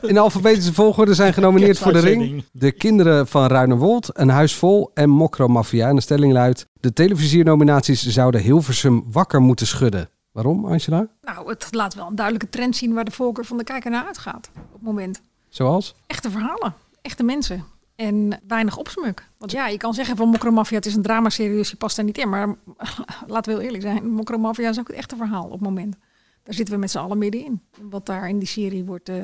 [SPEAKER 8] In alfabetische volgorde zijn genomineerd voor de ring.
[SPEAKER 10] Kerstuitzending.
[SPEAKER 8] De kinderen van Ruinerwold, Een Huis Vol en Mokro Mafia. En de stelling luidt, de televisiernominaties zouden Hilversum wakker moeten schudden. Waarom, Angela?
[SPEAKER 9] Nou, het laat wel een duidelijke trend zien waar de voorkeur van de kijker naar uitgaat op het moment.
[SPEAKER 8] Zoals?
[SPEAKER 9] echte verhalen, echte mensen. En weinig opsmuk. Want ja, je kan zeggen van Mokro Mafia, het is een dramaserie, dus je past daar niet in. Maar laten we heel eerlijk zijn, Mokro Mafia is ook het echte verhaal op het moment. Daar zitten we met z'n allen middenin. Wat daar in die serie wordt eh,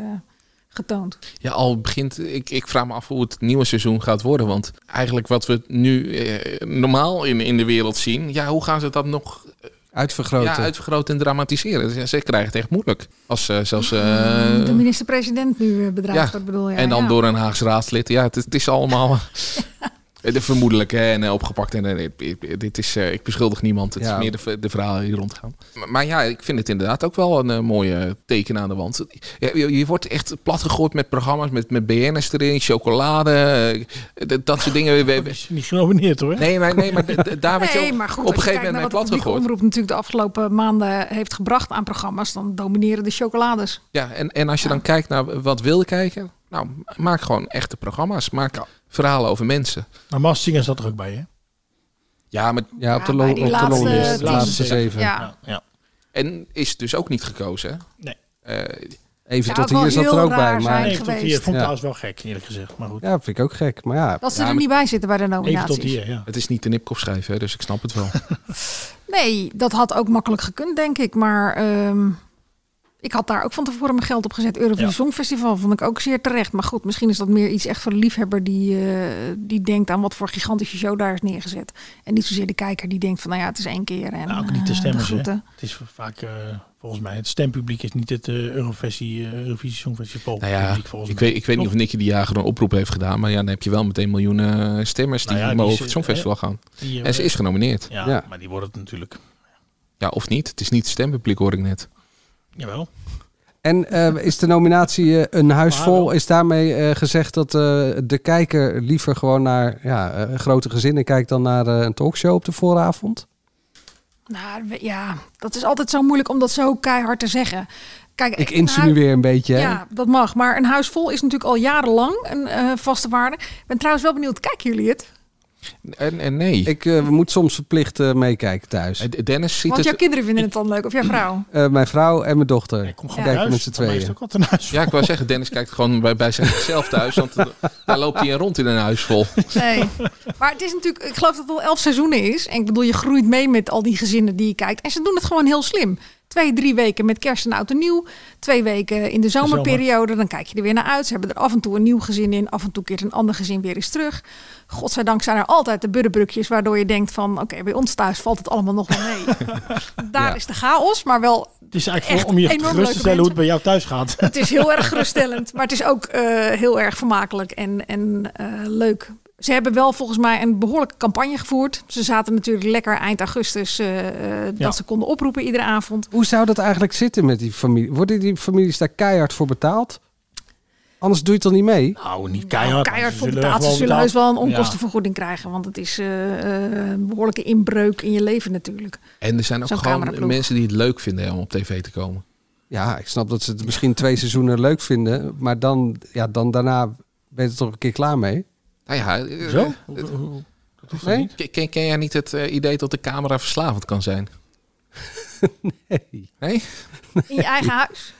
[SPEAKER 9] getoond.
[SPEAKER 7] Ja, al begint. Ik, ik vraag me af hoe het nieuwe seizoen gaat worden. Want eigenlijk wat we nu eh, normaal in, in de wereld zien. Ja, hoe gaan ze dat nog
[SPEAKER 8] Uitvergroten.
[SPEAKER 7] ja, uitvergroten en dramatiseren? Ze, ze krijgen het echt moeilijk. Als ze zelfs. eh,
[SPEAKER 10] Mm.
[SPEAKER 9] de minister-president nu eh, bedreigd
[SPEAKER 7] ja,
[SPEAKER 9] wordt, bedoel je?
[SPEAKER 7] en dan
[SPEAKER 9] ja.
[SPEAKER 7] door een Haagse raadslid. Ja, het, het is allemaal. eh, de vermoedelijk hè, en eh, opgepakt. En, eh, dit- dit is, eh, ik beschuldig niemand. Het
[SPEAKER 8] Ja.
[SPEAKER 7] is meer de, v- de verhalen die rondgaan. Maar, maar ja, ik vind het inderdaad ook wel een eh, mooie teken aan de wand. Ja, je, je wordt echt platgegooid met programma's. Met, met BN'ers erin, chocolade. eh, dat- dat soort dingen. We- we-
[SPEAKER 10] Niet genomineerd hoor.
[SPEAKER 7] Nee, maar, nee, maar d- d- daar werd je
[SPEAKER 9] Nee,
[SPEAKER 7] op,
[SPEAKER 9] maar goed,
[SPEAKER 7] op een
[SPEAKER 9] als
[SPEAKER 7] gegeven
[SPEAKER 9] je kijkt
[SPEAKER 7] moment
[SPEAKER 9] naar
[SPEAKER 7] mee
[SPEAKER 9] wat de publieke
[SPEAKER 7] platgegooid.
[SPEAKER 9] omroep natuurlijk de afgelopen maanden heeft gebracht aan programma's, dan domineren de chocolades.
[SPEAKER 7] Ja, en, en als je dan kijkt naar wat wil kijken. Nou, maak gewoon echte programma's. Maak verhalen over mensen.
[SPEAKER 10] Maar Massingen zat er ook bij, hè?
[SPEAKER 7] Ja, maar
[SPEAKER 8] Ja, op de,
[SPEAKER 9] bij
[SPEAKER 8] lo-
[SPEAKER 9] die
[SPEAKER 8] op de
[SPEAKER 9] laatste
[SPEAKER 8] longlist. De
[SPEAKER 9] tien.
[SPEAKER 8] laatste zeven.
[SPEAKER 9] Ja.
[SPEAKER 7] En is dus ook niet gekozen. hè?
[SPEAKER 10] Nee.
[SPEAKER 7] Eh,
[SPEAKER 8] Even
[SPEAKER 9] Zou
[SPEAKER 8] tot
[SPEAKER 9] ook
[SPEAKER 8] hier
[SPEAKER 9] wel
[SPEAKER 8] zat er
[SPEAKER 9] heel
[SPEAKER 8] ook bij.
[SPEAKER 9] raar
[SPEAKER 8] Maar...
[SPEAKER 9] zijn.
[SPEAKER 10] Nee, tot hier.
[SPEAKER 9] geweest.
[SPEAKER 10] Vond ik
[SPEAKER 8] Ja.
[SPEAKER 10] trouwens wel gek, eerlijk gezegd. Maar goed.
[SPEAKER 8] Ja, vind ik ook gek. Maar ja,
[SPEAKER 9] Dat ze
[SPEAKER 7] Ja,
[SPEAKER 9] er
[SPEAKER 7] maar-
[SPEAKER 9] niet bij zitten bij de
[SPEAKER 10] Even
[SPEAKER 9] nominaties.
[SPEAKER 10] tot hier, ja.
[SPEAKER 7] het is niet de nipkop schrijven, hè, dus ik snap het wel.
[SPEAKER 9] Nee, dat had ook makkelijk gekund, denk ik. Maar ehm, Ik had daar ook van tevoren mijn geld op gezet. Eurovisie Songfestival vond ik ook zeer terecht. Maar goed, misschien is dat meer iets echt voor de liefhebber die, eh, die denkt aan wat voor gigantische show daar is neergezet. En niet zozeer de kijker die denkt van nou ja, het is één keer. En,
[SPEAKER 10] Nou, ook niet de
[SPEAKER 9] eh,
[SPEAKER 10] stemmers. hè.
[SPEAKER 9] groeten.
[SPEAKER 10] Het is vaak, eh, volgens mij, het stempubliek is niet het eh Eurovisie, eh Eurovisie Songfestival
[SPEAKER 7] Nou ja,
[SPEAKER 10] publiek volgens
[SPEAKER 7] ik
[SPEAKER 10] mij.
[SPEAKER 7] weet, ik weet niet of Nicky die Jager een oproep heeft gedaan. Maar ja, dan heb je wel meteen miljoenen eh, stemmers die
[SPEAKER 10] Nou ja, die
[SPEAKER 7] mogen
[SPEAKER 10] is-
[SPEAKER 7] over het Songfestival
[SPEAKER 10] eh,
[SPEAKER 7] gaan.
[SPEAKER 10] die, eh,
[SPEAKER 7] en ze is genomineerd.
[SPEAKER 10] Ja,
[SPEAKER 7] ja.
[SPEAKER 10] maar die wordt het natuurlijk.
[SPEAKER 7] Ja, of niet. Het is niet stempubliek, hoor ik net.
[SPEAKER 10] Jawel.
[SPEAKER 8] En eh, is de nominatie eh, Een Huis Vol, is daarmee eh, gezegd dat eh, de kijker liever gewoon naar ja, eh, grote gezinnen kijkt dan naar eh, een talkshow op de vooravond?
[SPEAKER 9] Nou we- ja, dat is altijd zo moeilijk om dat zo keihard te zeggen. Kijk,
[SPEAKER 8] Ik
[SPEAKER 9] een
[SPEAKER 8] insinueer een beetje. hè?
[SPEAKER 9] Ja, dat mag. Maar een huis vol is natuurlijk al jarenlang een eh, vaste waarde. Ik ben trouwens wel benieuwd. Kijken jullie het?
[SPEAKER 7] En, en nee.
[SPEAKER 8] Ik eh, moet soms verplicht eh, meekijken thuis.
[SPEAKER 7] Dennis ziet
[SPEAKER 9] Want jouw kinderen vinden het dan leuk. Of jouw vrouw.
[SPEAKER 8] Eh, mijn vrouw en mijn dochter.
[SPEAKER 9] gewoon
[SPEAKER 8] kijken
[SPEAKER 9] thuis.
[SPEAKER 8] met z'n
[SPEAKER 9] Voor mij is
[SPEAKER 8] tweeën.
[SPEAKER 7] Ja, ik wou zeggen, Dennis kijkt gewoon bij, bij zichzelf thuis. Want eh, daar loopt hij rond in een huis vol.
[SPEAKER 9] Nee. Maar het is natuurlijk, ik geloof dat het al elf seizoenen is. En ik bedoel, je groeit mee met al die gezinnen die je kijkt. En ze doen het gewoon heel slim. Twee, drie weken met kerst en oud en nieuw. Twee weken in de zomerperiode. Dan kijk je er weer naar uit. Ze hebben er af en toe een nieuw gezin in. Af en toe keert een ander gezin weer eens terug. Godzijdank zijn er altijd de buddenbrukjes... waardoor je denkt van, oké, bij ons thuis valt het allemaal nog wel mee. Daar is de chaos, maar wel
[SPEAKER 10] Het is eigenlijk
[SPEAKER 9] Echt
[SPEAKER 10] voor om je
[SPEAKER 9] enorm
[SPEAKER 10] gerust te
[SPEAKER 9] leuke
[SPEAKER 10] stellen hoe het bij jou thuis gaat.
[SPEAKER 9] het is heel erg geruststellend, maar het is ook eh, heel erg vermakelijk en, en eh, leuk. Ze hebben wel volgens mij een behoorlijke campagne gevoerd. Ze zaten natuurlijk lekker eind augustus eh, eh,
[SPEAKER 8] Ja.
[SPEAKER 9] dat ze konden oproepen iedere avond.
[SPEAKER 8] Hoe zou dat eigenlijk zitten met die familie? Worden die families daar keihard voor betaald? Anders doe je het dan niet mee?
[SPEAKER 10] Nou, niet
[SPEAKER 9] Nou, keihard voor betaald. Ze zullen heus wel een onkostenvergoeding krijgen, want het is eh, eh, een behoorlijke inbreuk in je leven natuurlijk.
[SPEAKER 7] En er zijn ook
[SPEAKER 9] Zo'n
[SPEAKER 7] gewoon
[SPEAKER 9] cameraploeg.
[SPEAKER 7] mensen die het leuk vinden hè, om op tv te komen.
[SPEAKER 8] Ja, ik snap dat ze het misschien twee seizoenen leuk vinden. Maar dan, ja, dan daarna ben je er toch een keer klaar mee.
[SPEAKER 7] Nou ja, eh,
[SPEAKER 8] Zo?
[SPEAKER 7] eh,
[SPEAKER 8] hoeft toch niet?
[SPEAKER 7] Ken- Ken, ken jij niet het eh, idee dat de camera verslavend kan zijn? nee. Nee?
[SPEAKER 9] In je eigen huis.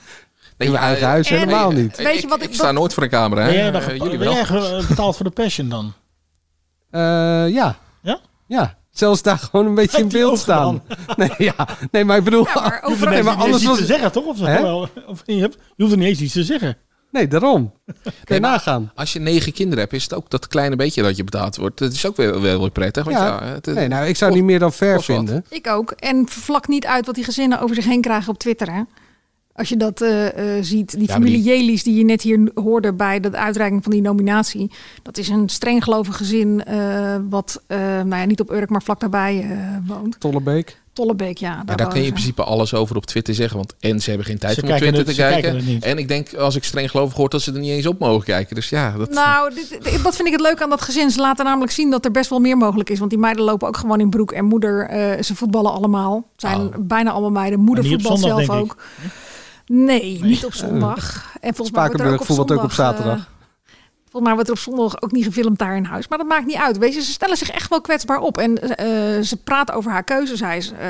[SPEAKER 7] Nee,
[SPEAKER 8] In je
[SPEAKER 7] ja,
[SPEAKER 8] eigen
[SPEAKER 7] eh,
[SPEAKER 8] huis
[SPEAKER 7] eh,
[SPEAKER 8] helemaal
[SPEAKER 7] nee,
[SPEAKER 8] niet.
[SPEAKER 7] eh,
[SPEAKER 9] Weet je
[SPEAKER 7] ik-
[SPEAKER 9] wat
[SPEAKER 7] ik,
[SPEAKER 9] ik-
[SPEAKER 7] sta
[SPEAKER 9] dat-
[SPEAKER 7] nooit voor een camera.
[SPEAKER 10] Ben
[SPEAKER 7] Hè?
[SPEAKER 10] jij, dan,
[SPEAKER 7] Eh,
[SPEAKER 10] ge-
[SPEAKER 7] jullie
[SPEAKER 10] ben
[SPEAKER 7] wel.
[SPEAKER 10] jij ge- betaald voor de passion dan?
[SPEAKER 8] Eh, ja.
[SPEAKER 10] Ja?
[SPEAKER 8] Ja. Zelfs daar gewoon een beetje in beeld staan. Nee, ja. nee, maar ik bedoel...
[SPEAKER 10] Je hoeft er
[SPEAKER 8] nee,
[SPEAKER 10] net
[SPEAKER 8] maar
[SPEAKER 10] niet
[SPEAKER 8] anders
[SPEAKER 10] eens
[SPEAKER 8] was...
[SPEAKER 10] iets te zeggen, toch? Of, zo?
[SPEAKER 8] Hè?
[SPEAKER 10] Wel, of je, hebt, je hoeft er niet eens iets te zeggen.
[SPEAKER 8] Nee, daarom. Kun je nagaan.
[SPEAKER 7] Als je negen kinderen hebt, is het ook dat kleine beetje dat je betaald wordt. Dat is ook wel, wel weer prettig. Want ja, het, eh,
[SPEAKER 8] nee, nou, ik zou niet meer dan fair vinden.
[SPEAKER 9] Ik ook. En vlak niet uit wat die gezinnen over zich heen krijgen op Twitter, hè? Als je dat eh, eh, ziet, die
[SPEAKER 7] Ja, maar die-
[SPEAKER 9] familie Jelies die je net hier hoorde bij de uitreiking van die nominatie. Dat is een streng gelovig gezin eh, wat eh, nou ja, niet op Urk, maar vlak daarbij eh, woont.
[SPEAKER 8] Tollebeek.
[SPEAKER 9] Tollebeek, ja.
[SPEAKER 7] Maar
[SPEAKER 9] daar
[SPEAKER 7] daar kun je in
[SPEAKER 9] wonen ze.
[SPEAKER 7] principe alles over op Twitter zeggen. Want en ze hebben geen tijd
[SPEAKER 10] Ze
[SPEAKER 7] om op
[SPEAKER 10] kijken
[SPEAKER 7] Twitter
[SPEAKER 10] het-
[SPEAKER 7] te
[SPEAKER 10] ze
[SPEAKER 7] kijken.
[SPEAKER 10] kijken het niet.
[SPEAKER 7] en ik denk, als ik streng gelovig hoor, dat ze er niet eens op mogen kijken. Dus ja, dat,
[SPEAKER 9] Nou, dit, dit- dat vind ik het leuk aan dat gezin. Ze laten namelijk zien dat er best wel meer mogelijk is. Want die meiden lopen ook gewoon in broek en moeder. eh, ze voetballen allemaal. Het zijn bijna allemaal meiden. Moeder
[SPEAKER 10] Maar niet op
[SPEAKER 9] voetbalt
[SPEAKER 10] zondag,
[SPEAKER 9] zelf
[SPEAKER 10] denk
[SPEAKER 9] ook. Nee, niet op zondag. En volgens mij wordt er ook
[SPEAKER 8] Spakenburg
[SPEAKER 9] op
[SPEAKER 8] voelt dat ook op
[SPEAKER 9] zondag, eh,
[SPEAKER 8] zaterdag.
[SPEAKER 9] Volgens mij wordt er op zondag ook niet gefilmd daar in huis. Maar dat maakt niet uit. Weet je, ze stellen zich echt wel kwetsbaar op. En eh, ze praat over haar keuzes. Hij is eh,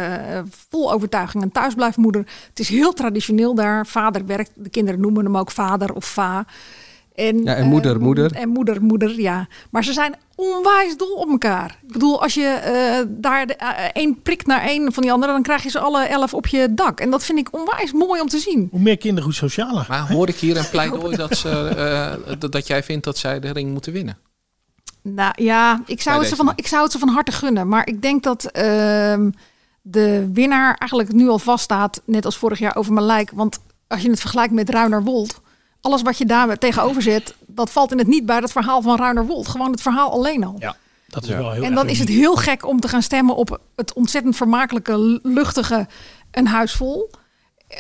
[SPEAKER 9] vol overtuiging een thuisblijfmoeder. Het is heel traditioneel daar. Vader werkt. De kinderen noemen hem ook vader of va. En,
[SPEAKER 8] Ja, en moeder,
[SPEAKER 9] eh,
[SPEAKER 8] moeder.
[SPEAKER 9] En moeder, moeder, ja. Maar ze zijn onwijs dol op elkaar. Ik bedoel, als je eh, daar de- eh, één prikt naar één van die andere... dan krijg je ze alle elf op je dak. En dat vind ik onwijs mooi om te zien.
[SPEAKER 10] Hoe meer kinderen, hoe socialer.
[SPEAKER 7] Maar hoor ik hier een pleidooi dat, ze, eh, dat, dat jij vindt dat zij de ring moeten winnen?
[SPEAKER 9] Nou ja, ik zou,
[SPEAKER 7] Bij deze.
[SPEAKER 9] het ze van, ik zou het ze van harte gunnen. Maar ik denk dat ehm, de winnaar eigenlijk nu al vaststaat, net als vorig jaar over Malijk. Want als je het vergelijkt met Ruiner Wold, alles wat je daar tegenover zet, dat valt in het niet bij dat verhaal van Ruiner Wold. Gewoon het verhaal alleen al.
[SPEAKER 10] Ja, dat is wel heel
[SPEAKER 9] en dan
[SPEAKER 10] erg
[SPEAKER 9] is het
[SPEAKER 10] uniek.
[SPEAKER 9] heel gek om te gaan stemmen op het ontzettend vermakelijke, luchtige Een Huis Vol.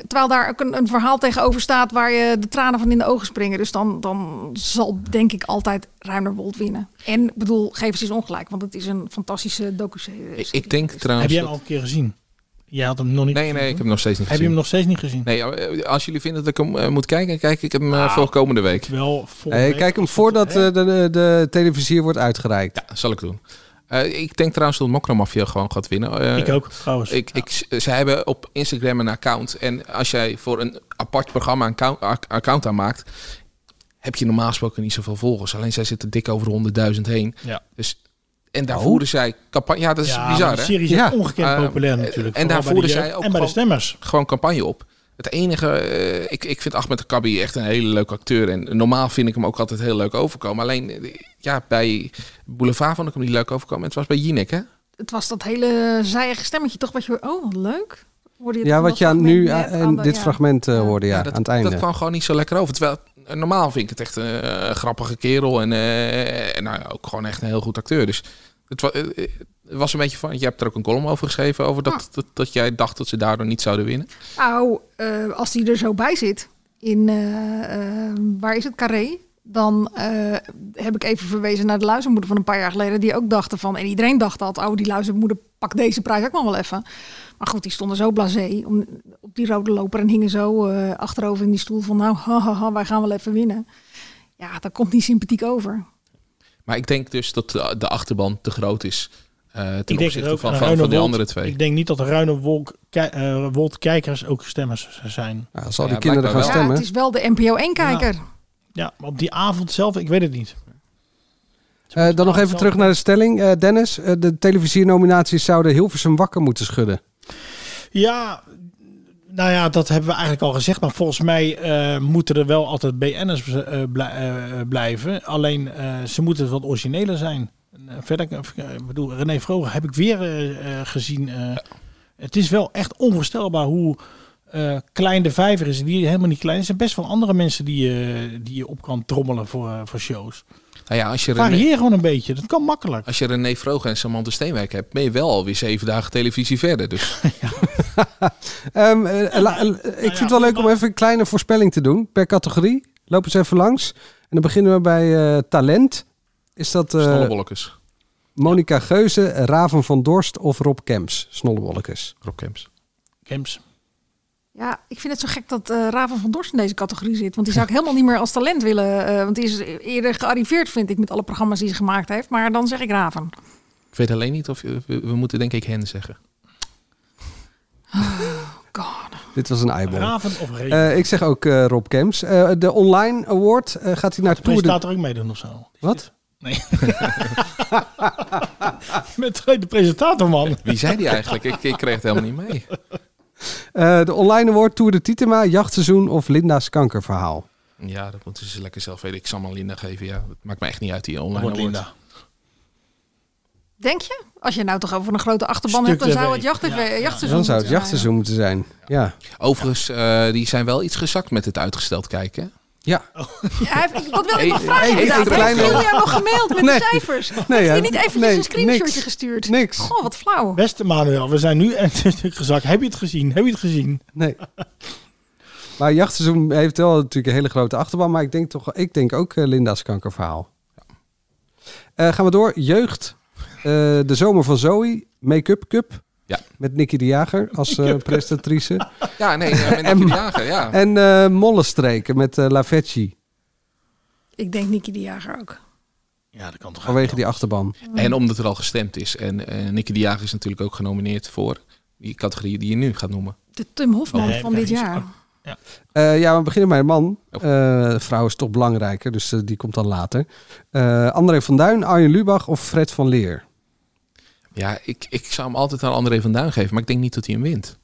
[SPEAKER 9] Terwijl daar ook een, een verhaal tegenover staat waar je de tranen van in de ogen springen. Dus dan, dan zal denk ik altijd Ruiner Wold winnen. En ik bedoel, geef ze eens ongelijk, want het is een fantastische docu-serie.
[SPEAKER 7] Ik, ik denk trouwens...
[SPEAKER 10] Heb jij hem
[SPEAKER 7] dat-
[SPEAKER 10] al een keer gezien? Jij had hem nog niet
[SPEAKER 7] Nee, nee, ik heb hem nog steeds niet
[SPEAKER 10] Heb je
[SPEAKER 7] gezien.
[SPEAKER 10] hem nog steeds niet gezien?
[SPEAKER 7] Nee, eh, als jullie vinden dat ik hem eh, moet kijken, kijk ik hem eh, voor komende week.
[SPEAKER 10] Wel voor
[SPEAKER 8] Nee, kijk hem voordat eh, de, de, de televisier wordt uitgereikt.
[SPEAKER 7] Ja, zal ik doen. Eh, ik denk trouwens dat Mokromafia gewoon gaat winnen. Eh,
[SPEAKER 10] Ik ook, trouwens.
[SPEAKER 7] Ik, ik, ze hebben op Instagram een account. En als jij voor een apart programma een account, ac- account aanmaakt... heb je normaal gesproken niet zoveel volgers. Alleen zij zitten dik over de 100.000 heen.
[SPEAKER 10] Ja.
[SPEAKER 7] Dus, en daar
[SPEAKER 10] Oh.
[SPEAKER 7] voeren zij campagne... Ja, dat is
[SPEAKER 10] Ja, maar
[SPEAKER 7] bizar,
[SPEAKER 10] die
[SPEAKER 7] hè?
[SPEAKER 10] serie is
[SPEAKER 7] ja.
[SPEAKER 10] ongekend
[SPEAKER 7] Eh,
[SPEAKER 10] populair natuurlijk,
[SPEAKER 7] En
[SPEAKER 10] vooral
[SPEAKER 7] daar
[SPEAKER 10] bij de
[SPEAKER 7] voeren zij
[SPEAKER 10] jeugd
[SPEAKER 7] ook
[SPEAKER 10] en bij de
[SPEAKER 7] gewoon, gewoon campagne op. Het enige, eh, ik, ik vind Ahmed Kabi echt een hele leuke acteur. En normaal vind ik hem ook altijd heel leuk overkomen. Alleen, eh, ja, bij Boulevard vond ik hem niet leuk overkomen. Het was bij Jinek, hè?
[SPEAKER 9] Het was dat hele zijige stemmetje toch? Wat je hoort, oh wat leuk. Hoorde je het
[SPEAKER 8] Ja,
[SPEAKER 9] aan
[SPEAKER 8] wat
[SPEAKER 9] dat
[SPEAKER 8] je aan
[SPEAKER 9] fragment
[SPEAKER 8] nu
[SPEAKER 9] net
[SPEAKER 8] aan-
[SPEAKER 9] aan
[SPEAKER 8] en
[SPEAKER 9] de-
[SPEAKER 8] dit
[SPEAKER 9] ja.
[SPEAKER 8] fragment eh, hoorde, ja,
[SPEAKER 7] dat,
[SPEAKER 8] aan het einde.
[SPEAKER 7] Dat kwam gewoon niet zo lekker over. Terwijl eh, normaal vind ik het echt een eh, grappige kerel. En, eh, en nou, ja, ook gewoon echt een heel goed acteur. Dus het wa- eh, eh, het was een beetje van... Je hebt er ook een column over geschreven. Over dat,
[SPEAKER 9] Ah.
[SPEAKER 7] dat, dat jij dacht dat ze daardoor niet zouden winnen.
[SPEAKER 9] Nou, eh, als die er zo bij zit, in eh, eh, waar is het carré? Dan eh, heb ik even verwezen naar de luizenmoeder van een paar jaar geleden. Die ook dachten van, en iedereen dacht dat, oh die luizenmoeder pakt deze prijs ook nog wel even. Maar goed, die stonden zo blasé om, op die rode loper en hingen zo eh, achterover in die stoel van, nou hahaha, wij gaan wel even winnen. Ja, dat komt niet sympathiek over.
[SPEAKER 7] Maar ik denk dus dat de, de achterban te groot is. eh, ten
[SPEAKER 10] Ik denk
[SPEAKER 7] opzichte
[SPEAKER 10] dat ook
[SPEAKER 7] van,
[SPEAKER 10] aan
[SPEAKER 7] van,
[SPEAKER 10] Ruine
[SPEAKER 7] van die
[SPEAKER 10] Wold-
[SPEAKER 7] andere twee.
[SPEAKER 10] Ik denk niet dat de Ruine Wolk, ki- eh, Wold kijkers ook stemmers zijn.
[SPEAKER 8] zal die Ja, kinderen blijkbaar gaan wel.
[SPEAKER 9] Ja, het is wel de NPO 1-kijker.
[SPEAKER 10] Ja, maar op die avond zelf, ik weet het niet.
[SPEAKER 8] Eh, dan nog even terug naar de stelling, eh, Dennis. Eh, de televisiernominaties zouden Hilversum wakker moeten schudden.
[SPEAKER 10] Ja, nou ja, dat hebben we eigenlijk al gezegd. Maar volgens mij eh, moeten er wel altijd BN'ers eh, blij- eh, blijven. Alleen eh, ze moeten wat origineler zijn. En, eh, verder, eh, ik bedoel, René Vroger heb ik weer eh, eh, gezien. eh, Het is wel echt onvoorstelbaar hoe eh, klein de vijver is. Die helemaal niet klein is. Er zijn best wel andere mensen die, eh, die je op kan trommelen voor, eh, voor shows.
[SPEAKER 7] Nou ja, als je
[SPEAKER 10] Varieer gewoon een beetje. Dat kan makkelijk.
[SPEAKER 7] Als je René Vroger en Samantha Steenwijk hebt, ben je wel alweer zeven dagen televisie verder. Dus
[SPEAKER 8] Ehm, eh, la- eh, ik vind het wel leuk om even een kleine voorspelling te doen per categorie. Loop eens even langs. En dan beginnen we bij eh, talent. Is dat eh,
[SPEAKER 7] Snollebollekes.
[SPEAKER 8] Monica Geuze, Raven van Dorst of Rob Kemps? Snollebollekes.
[SPEAKER 7] Rob Kemps.
[SPEAKER 10] Kemps.
[SPEAKER 9] Ja, ik vind het zo gek dat eh, Raven van Dorst in deze categorie zit. Want die zou ik helemaal niet meer als talent willen. eh, want die is eerder gearriveerd, vind ik, met alle programma's die ze gemaakt heeft. Maar dan zeg ik Raven.
[SPEAKER 7] ik weet alleen niet of je- we, we moeten denk ik hen zeggen.
[SPEAKER 8] Dit was een eyeball.
[SPEAKER 10] Raven of Reven?
[SPEAKER 8] Eh, ik zeg ook eh, Rob Kemps. Eh, de online award eh, gaat hij naar
[SPEAKER 10] De
[SPEAKER 8] Tour de...
[SPEAKER 10] presentator ook meedoen of zo.
[SPEAKER 8] Wat?
[SPEAKER 10] Nee. Met de presentator, man.
[SPEAKER 7] Wie zei die eigenlijk? Ik, ik kreeg het helemaal niet mee.
[SPEAKER 8] Eh, de online award, Tour de Titema, Jachtseizoen of Linda's kankerverhaal?
[SPEAKER 7] Ja, dat moeten ze lekker zelf weten. Ik zal maar Linda geven. Ja, dat maakt me echt niet uit die online
[SPEAKER 10] Wordt
[SPEAKER 7] award.
[SPEAKER 10] Linda.
[SPEAKER 9] Denk je? Als je nou toch over een grote achterban
[SPEAKER 7] Stuk
[SPEAKER 9] hebt, dan zou
[SPEAKER 7] TV.
[SPEAKER 9] het jacht TV jachtseizoen
[SPEAKER 8] Dan zou het
[SPEAKER 9] moeten zijn,
[SPEAKER 8] jachtseizoen moeten zijn. Ja.
[SPEAKER 7] Overigens, eh, die zijn wel iets gezakt met het uitgesteld kijken.
[SPEAKER 8] Ja.
[SPEAKER 9] ja. Ja, hij heeft- ik- dat wil ik nog
[SPEAKER 7] Hey,
[SPEAKER 9] vragen.
[SPEAKER 7] hey,
[SPEAKER 9] inderdaad.
[SPEAKER 7] even
[SPEAKER 9] Heeft
[SPEAKER 7] kleine-
[SPEAKER 9] Giel jou nog gemaild met
[SPEAKER 7] Nee.
[SPEAKER 9] de cijfers? Nee,
[SPEAKER 7] Nee,
[SPEAKER 9] Heeft
[SPEAKER 7] ja,
[SPEAKER 9] hij niet eventjes
[SPEAKER 7] nee,
[SPEAKER 9] een screenshotje
[SPEAKER 7] niks.
[SPEAKER 9] gestuurd?
[SPEAKER 8] Niks.
[SPEAKER 9] Goh, wat flauw.
[SPEAKER 10] Beste Manuel, we zijn nu echt een stuk gezakt. Heb je het gezien? Heb je het gezien?
[SPEAKER 8] Nee. Maar jachtseizoen heeft wel natuurlijk een hele grote achterban. Maar ik denk, toch, ik denk ook eh, Linda's kankerverhaal. Eh, gaan we door. Jeugd. Eh, de zomer van Zoe. Make-up cup.
[SPEAKER 7] Ja.
[SPEAKER 8] Met Nicky de Jager als eh, presentatrice.
[SPEAKER 7] Ja, nee, ja, met
[SPEAKER 8] En-
[SPEAKER 7] Nicky de Jager, ja.
[SPEAKER 8] En eh mollenstreken met eh La Vecchi.
[SPEAKER 9] Ik denk Nicky de Jager ook.
[SPEAKER 10] Ja, dat kan toch
[SPEAKER 8] Vanwege die achterban.
[SPEAKER 7] En omdat er al gestemd is. En eh Nicky de Jager is natuurlijk ook genomineerd voor die categorie die je nu gaat noemen.
[SPEAKER 9] De Tim Hofman
[SPEAKER 7] Oh, nee,
[SPEAKER 9] van
[SPEAKER 7] dat
[SPEAKER 9] dit
[SPEAKER 7] is-
[SPEAKER 9] jaar.
[SPEAKER 8] Eh, ja, we beginnen bij een man. Eh, vrouw is toch belangrijker, dus eh, die komt dan later. Eh, André van Duin, Arjen Lubach of Fred van Leer?
[SPEAKER 7] Ja, ik, ik zou hem altijd aan André van Duin geven, maar ik denk niet dat hij hem wint.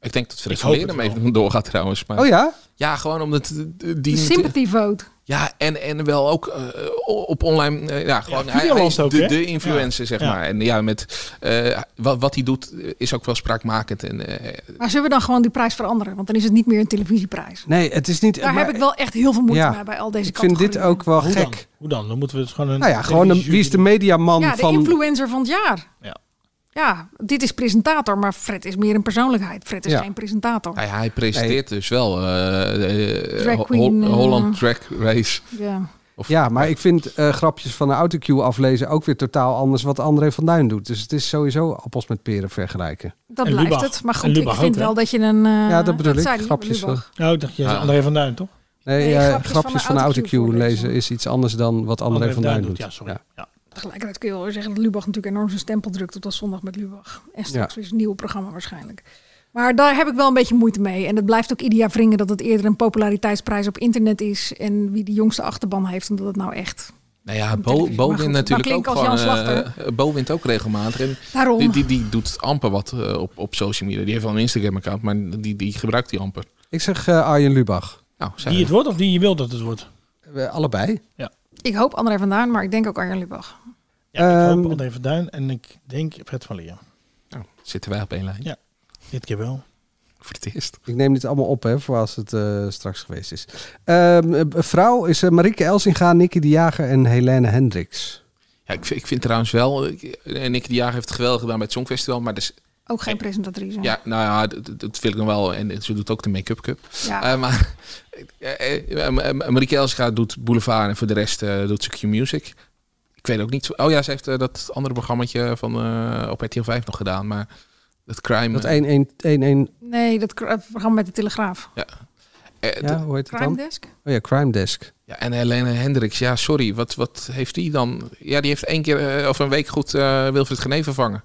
[SPEAKER 7] Ik denk dat Frits
[SPEAKER 10] Ik
[SPEAKER 7] van
[SPEAKER 10] hoop
[SPEAKER 7] Leer
[SPEAKER 10] het
[SPEAKER 7] ermee doorgaat trouwens. Maar...
[SPEAKER 8] Oh ja?
[SPEAKER 7] Ja, gewoon omdat eh,
[SPEAKER 9] De
[SPEAKER 7] die... Eh.
[SPEAKER 9] sympathy vote.
[SPEAKER 7] Ja, en, en wel ook eh, op online... eh, ja, gewoon, hij- hij,
[SPEAKER 10] Videoland
[SPEAKER 7] is
[SPEAKER 10] ook,
[SPEAKER 7] de,
[SPEAKER 10] hè?
[SPEAKER 7] de influencer,
[SPEAKER 10] Ja.
[SPEAKER 7] zeg
[SPEAKER 10] Ja.
[SPEAKER 7] maar. En ja, met, eh, wat, wat hij doet eh, is ook wel spraakmakend. En, eh,
[SPEAKER 9] Maar zullen we dan gewoon die prijs veranderen? Want dan is het niet meer een televisieprijs.
[SPEAKER 8] Nee, het is niet...
[SPEAKER 9] Daar
[SPEAKER 8] maar-
[SPEAKER 9] heb ik wel echt heel veel moeite
[SPEAKER 8] Ja.
[SPEAKER 9] mee bij al deze
[SPEAKER 8] Ik vind dit
[SPEAKER 9] categorieën.
[SPEAKER 8] ook wel
[SPEAKER 10] Hoe
[SPEAKER 8] gek.
[SPEAKER 10] dan? Hoe dan? Dan moeten we het gewoon een...
[SPEAKER 8] Nou ja, gewoon een, wie is de mediaman
[SPEAKER 9] Ja, de
[SPEAKER 8] van...
[SPEAKER 9] influencer van het jaar.
[SPEAKER 10] Ja.
[SPEAKER 9] Ja, dit is presentator, maar Fred is meer een persoonlijkheid. Fred is
[SPEAKER 7] Ja.
[SPEAKER 9] geen presentator.
[SPEAKER 7] nou ja, hij presenteert dus wel eh, eh,
[SPEAKER 9] Drag
[SPEAKER 7] Ho-
[SPEAKER 9] queen, eh,
[SPEAKER 7] Holland Track Race.
[SPEAKER 9] Ja.
[SPEAKER 8] ja, maar ik vind eh, grapjes van een autocue aflezen ook weer totaal anders wat André van Duin doet. Dus het is sowieso appels met peren vergelijken.
[SPEAKER 9] Dat blijft het. Maar goed, ik vind wel dat je een... eh,
[SPEAKER 8] Ja, dat bedoel ik.
[SPEAKER 9] zei hij,
[SPEAKER 8] Grapjes eh.
[SPEAKER 9] Lubach.
[SPEAKER 8] van-
[SPEAKER 10] Nou, ik dacht, je
[SPEAKER 8] Ja.
[SPEAKER 10] André van Duin, toch?
[SPEAKER 8] Nee,
[SPEAKER 9] Nee,
[SPEAKER 8] eh,
[SPEAKER 9] grapjes
[SPEAKER 8] grapjes, van een autocue, lezen is iets anders dan wat André, van Duin doet.
[SPEAKER 10] Ja, sorry. Ja.
[SPEAKER 9] Tegelijkertijd kun je wel weer zeggen dat Lubach natuurlijk enorm zijn stempel drukt op dat zondag met Lubach. En straks
[SPEAKER 8] Ja.
[SPEAKER 9] weer een nieuw programma waarschijnlijk. Maar daar heb ik wel een beetje moeite mee. En het blijft ook ieder jaar wringen dat het eerder een populariteitsprijs op internet is. En wie de jongste achterban heeft, en dat het nou echt...
[SPEAKER 7] Nou ja, Bo, Bo
[SPEAKER 9] Maar
[SPEAKER 7] wint
[SPEAKER 9] goed,
[SPEAKER 7] natuurlijk
[SPEAKER 9] maar
[SPEAKER 7] ook
[SPEAKER 9] klink als Jan
[SPEAKER 7] gewoon,
[SPEAKER 9] Slachter.
[SPEAKER 7] eh, Bo wint ook regelmatig. En
[SPEAKER 9] Daarom.
[SPEAKER 7] Die, die, die doet amper wat eh, op, op social media. Die heeft wel een Instagram-account, maar die, die gebruikt die amper.
[SPEAKER 8] Ik zeg eh, Arjen Lubach. Eh,
[SPEAKER 7] Nou,
[SPEAKER 10] Die het wordt of die je wil dat het wordt?
[SPEAKER 8] allebei.
[SPEAKER 10] Ja.
[SPEAKER 9] Ik hoop André van Duin, maar ik denk ook Arjen Lubach.
[SPEAKER 10] Ja, ik
[SPEAKER 8] Ehm,
[SPEAKER 10] hoop André van Duin en ik denk Fred van Leer.
[SPEAKER 7] Zitten wij op één lijn?
[SPEAKER 10] Ja, dit keer wel.
[SPEAKER 7] Voor het eerst.
[SPEAKER 8] Ik neem dit allemaal op, hè, voor als het eh, straks geweest is. Ehm, eh, vrouw is eh, Marieke Elsinga, Nicky de Jager en Helene Hendricks.
[SPEAKER 7] Ja, ik, vind- ik vind trouwens wel... ik- eh, Nicky de Jager heeft het geweldig gedaan bij het Songfestival, maar dus,
[SPEAKER 9] Ook geen presentatrice.
[SPEAKER 7] ja, nou ja, dat- dat, dat wil ik nog wel. En ze doet ook de make-up cup.
[SPEAKER 9] Ja.
[SPEAKER 7] Eh, maar eh, eh, eh, Marieke Elsinga doet Boulevard en voor de rest eh, doet ze Q-Music. Ik weet ook niet... zo- Oh ja, ze heeft eh, dat andere programmaatje van, eh, op RTL 5 nog gedaan, maar... Dat crime...
[SPEAKER 8] Dat 1-1-1-1,
[SPEAKER 9] Nee, dat kra- programma met de Telegraaf.
[SPEAKER 7] Ja. Eh,
[SPEAKER 8] ja, hoe heet het
[SPEAKER 9] Crime
[SPEAKER 8] dan?
[SPEAKER 9] Desk?
[SPEAKER 8] Oh ja, Crime Desk.
[SPEAKER 7] Ja, en Helene Hendricks, ja, sorry, wat, wat heeft die dan? Ja, die heeft één keer eh, of een week goed eh, Wilfried Genee vervangen.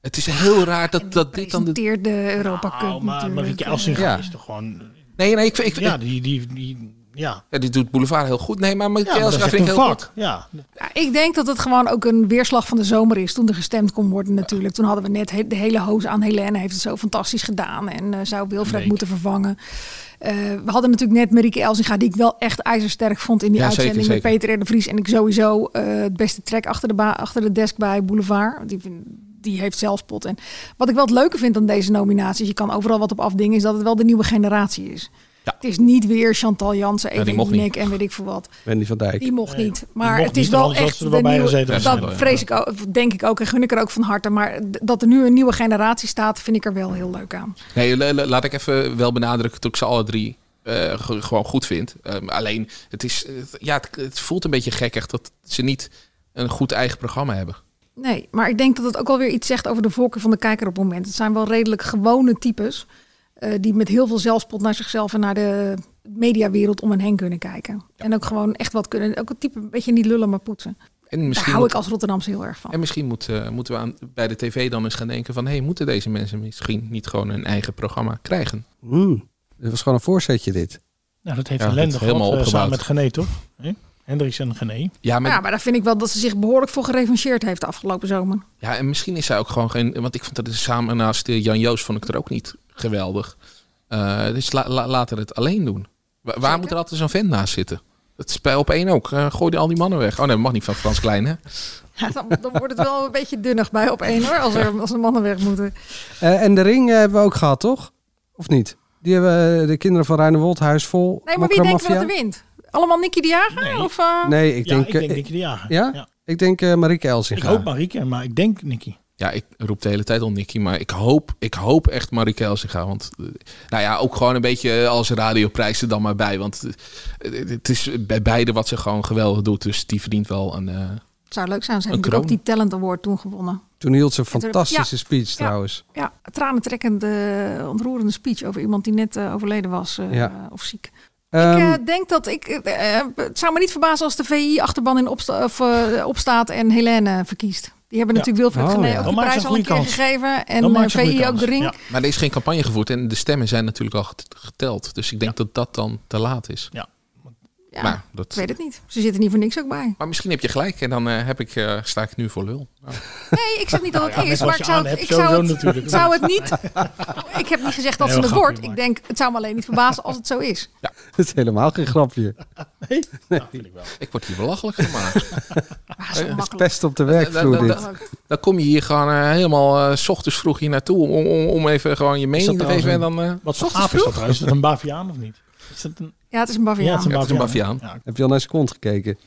[SPEAKER 7] Het is heel raar dat, dat dit dan... De...
[SPEAKER 9] Presenteert de Europa Cup
[SPEAKER 10] Nou, maar
[SPEAKER 9] natuurlijk.
[SPEAKER 10] Marieke Elsinga
[SPEAKER 7] Ja.
[SPEAKER 10] is toch gewoon...
[SPEAKER 7] Nee, nee, ik, ik,
[SPEAKER 10] Ja, die... die, die ja.
[SPEAKER 7] Ja, die doet Boulevard heel goed. Nee, maar Marieke
[SPEAKER 10] Ja, maar dat is
[SPEAKER 7] Elsinga
[SPEAKER 10] echt
[SPEAKER 7] vind ik
[SPEAKER 10] een
[SPEAKER 7] heel
[SPEAKER 10] vak.
[SPEAKER 7] goed.
[SPEAKER 10] Ja.
[SPEAKER 9] Ja, ik denk dat het gewoon ook een weerslag van de zomer is. Toen er gestemd kon worden natuurlijk. Toen hadden we net he- de hele hoos aan. Helene heeft het zo fantastisch gedaan. En eh, zou Wilfred moeten vervangen. Eh, we hadden natuurlijk net Marieke Elsinga. Die ik wel echt ijzersterk vond in die
[SPEAKER 7] Ja, zeker,
[SPEAKER 9] uitzending.
[SPEAKER 7] zeker.
[SPEAKER 9] Met Peter R. de Vries. En ik sowieso eh, het beste track achter de, ba- achter de desk bij Boulevard. Die, vind- die heeft zelfspot. En wat ik wel het leuke vind aan deze nominaties. Je kan overal wat op afdingen. Is dat het wel de nieuwe generatie is. Het is niet weer Chantal Jansen,
[SPEAKER 8] die
[SPEAKER 9] Eva
[SPEAKER 8] mocht niet.
[SPEAKER 9] Jinek en weet ik veel wat.
[SPEAKER 8] Wendy van Dijk.
[SPEAKER 9] Die mocht niet. Maar
[SPEAKER 8] mocht
[SPEAKER 9] het is
[SPEAKER 8] niet,
[SPEAKER 9] wel
[SPEAKER 8] anders had
[SPEAKER 9] echt
[SPEAKER 8] ze er wel
[SPEAKER 9] de
[SPEAKER 8] bij
[SPEAKER 9] nieuwe-
[SPEAKER 8] gezeten
[SPEAKER 9] Dat
[SPEAKER 8] waarschijnlijk.
[SPEAKER 9] vrees ik ook, denk ik ook en gun ik er ook van harte. Maar d- dat er nu een nieuwe generatie staat, vind ik er wel heel leuk aan.
[SPEAKER 7] Nee, la- la- laat ik even wel benadrukken dat ik ze alle drie eh, ge- gewoon goed vind. Ehm, alleen, het, is, het- ja, het, het voelt een beetje gekkig dat ze niet een goed eigen programma hebben.
[SPEAKER 9] Nee, maar ik denk dat het ook alweer iets zegt over de voorkeur van de kijker op het moment. Het zijn wel redelijk gewone types eh, die met heel veel zelfspot naar zichzelf en naar de mediawereld om hen heen kunnen kijken. En ook gewoon echt wat kunnen. Ook het type een beetje niet lullen, maar poetsen.
[SPEAKER 7] En
[SPEAKER 9] Daar
[SPEAKER 7] misschien
[SPEAKER 9] hou
[SPEAKER 7] moet-
[SPEAKER 9] ik als Rotterdamse heel erg van.
[SPEAKER 7] En misschien moet, eh, moeten we aan, bij de tv dan eens gaan denken van... hey, moeten deze mensen misschien niet gewoon een eigen programma krijgen?
[SPEAKER 8] Mm. Dit was gewoon een voorzetje dit.
[SPEAKER 10] Nou, dat heeft
[SPEAKER 7] Ja,
[SPEAKER 10] een
[SPEAKER 7] dat is
[SPEAKER 10] Lende
[SPEAKER 7] helemaal
[SPEAKER 10] gehad eh, samen
[SPEAKER 7] opgebouwd.
[SPEAKER 10] met Gené, toch? Hè? Hendricks en Gené.
[SPEAKER 7] Ja, maar,
[SPEAKER 9] Ja, maar daar vind ik wel dat ze zich behoorlijk voor gerevancheerd heeft de afgelopen zomer.
[SPEAKER 7] Ja, en misschien is zij ook gewoon geen... Want ik vond dat samen naast eh, Jan Joos vond ik het er ook niet geweldig. Eh, dus la, la- laten we het alleen doen. Wa- waar moet er altijd zo'n vent naast zitten? Het is bij op één ook. Eh, gooi die al die mannen weg. Oh nee, dat mag niet van Frans Klein, hè?
[SPEAKER 9] Ja, dan, dan wordt het wel een beetje dunnig bij op één hoor, als, er, als de mannen weg moeten.
[SPEAKER 8] Eh, en de ring eh, hebben we ook gehad, toch? Of niet? Die hebben eh, de kinderen van Ruinewold huis vol.
[SPEAKER 9] Nee, maar wie denkt wel dat er wint? Allemaal Nicky de Jager? Of, eh,
[SPEAKER 8] Nee, ik
[SPEAKER 10] Ja,
[SPEAKER 8] denk...
[SPEAKER 10] ik denk
[SPEAKER 8] eh,
[SPEAKER 10] Nicky de Jager.
[SPEAKER 8] Ja? Ik denk eh Marieke Elsinga.
[SPEAKER 10] Ik hoop Marieke, maar ik denk Nicky.
[SPEAKER 7] Ja, ik roep de hele tijd al Nicky, maar ik hoop, ik hoop echt Marieke Elsinga. Want eh, nou ja, ook gewoon een beetje als radioprijs er dan maar bij. Want eh, eh, het is bij beide wat ze gewoon geweldig doet. Dus die verdient wel een... eh,
[SPEAKER 9] Het zou leuk zijn, ze
[SPEAKER 7] Een
[SPEAKER 9] hebben natuurlijk ook
[SPEAKER 7] kroon.
[SPEAKER 9] die Talent Award toen gewonnen.
[SPEAKER 8] Toen hield ze een
[SPEAKER 9] Natuurlijk,
[SPEAKER 8] fantastische
[SPEAKER 9] ja.
[SPEAKER 8] speech
[SPEAKER 9] Ja.
[SPEAKER 8] trouwens.
[SPEAKER 9] Ja, tranentrekkende, ontroerende speech over iemand die net eh, overleden was eh,
[SPEAKER 8] Ja.
[SPEAKER 9] eh, of ziek.
[SPEAKER 8] Ehm,
[SPEAKER 9] ik eh, denk dat ik... eh, eh, het zou me niet verbazen als de VI achterban in opsta of, eh, opstaat en Helene verkiest. Die hebben
[SPEAKER 7] Ja.
[SPEAKER 9] natuurlijk Wilfred
[SPEAKER 7] Oh,
[SPEAKER 9] Gené
[SPEAKER 7] ja.
[SPEAKER 9] ook
[SPEAKER 7] Dan
[SPEAKER 9] de
[SPEAKER 7] maakt ze
[SPEAKER 9] prijs
[SPEAKER 7] een
[SPEAKER 9] al een
[SPEAKER 7] goede kans.
[SPEAKER 9] keer gegeven. En
[SPEAKER 7] Dan
[SPEAKER 9] eh,
[SPEAKER 7] maakt ze een goede
[SPEAKER 9] VI ook
[SPEAKER 7] kans.
[SPEAKER 9] de ring.
[SPEAKER 7] Maar er is geen campagne gevoerd en de stemmen zijn natuurlijk al get- geteld. Dus ik denk dat dat dan te laat is.
[SPEAKER 10] Ja.
[SPEAKER 9] Ja,
[SPEAKER 7] Maar dat-
[SPEAKER 9] Ik weet het niet. Ze zitten niet voor niks ook bij.
[SPEAKER 7] Maar misschien heb je gelijk en dan eh, heb ik, eh, sta ik nu voor lul. Nou.
[SPEAKER 9] Nee, ik zeg niet dat het
[SPEAKER 7] Nou ja,
[SPEAKER 9] is,
[SPEAKER 7] met wat
[SPEAKER 9] maar ik
[SPEAKER 7] je
[SPEAKER 9] zou,
[SPEAKER 7] aan
[SPEAKER 9] het-
[SPEAKER 7] hebt,
[SPEAKER 9] ik zou,
[SPEAKER 7] sowieso
[SPEAKER 9] het,
[SPEAKER 7] natuurlijk.
[SPEAKER 9] ik zou het niet... Ik heb niet gezegd dat
[SPEAKER 8] Nee,
[SPEAKER 9] ze
[SPEAKER 8] wel
[SPEAKER 9] het
[SPEAKER 8] grapje
[SPEAKER 9] wordt. Ik denk, het zou me alleen niet verbazen als het zo is.
[SPEAKER 8] Dat is helemaal geen grapje.
[SPEAKER 10] Nee?
[SPEAKER 7] ik, word hier belachelijk gemaakt.
[SPEAKER 9] zo
[SPEAKER 7] Eh,
[SPEAKER 8] makkelijk. Pest op de werkvloer,
[SPEAKER 7] Dan- dan-
[SPEAKER 8] dit.
[SPEAKER 7] dan- Dan kom je hier gewoon eh, helemaal eh, s ochtends vroeg hier naartoe om, om, om even gewoon je mening te
[SPEAKER 10] trouwens
[SPEAKER 7] geven. En
[SPEAKER 10] een-
[SPEAKER 7] dan, eh,
[SPEAKER 10] Wat
[SPEAKER 7] s
[SPEAKER 10] voor aap
[SPEAKER 7] ochtends
[SPEAKER 10] is dat
[SPEAKER 7] vroeg?
[SPEAKER 10] trouwens? Is dat een baviaan of niet? Is dat een...
[SPEAKER 9] Ja, het is een baviaan.
[SPEAKER 10] Ja, het is een
[SPEAKER 7] Ja, het is een
[SPEAKER 10] baviaan.
[SPEAKER 7] baviaan.
[SPEAKER 8] Heb je al naar zijn kont gekeken?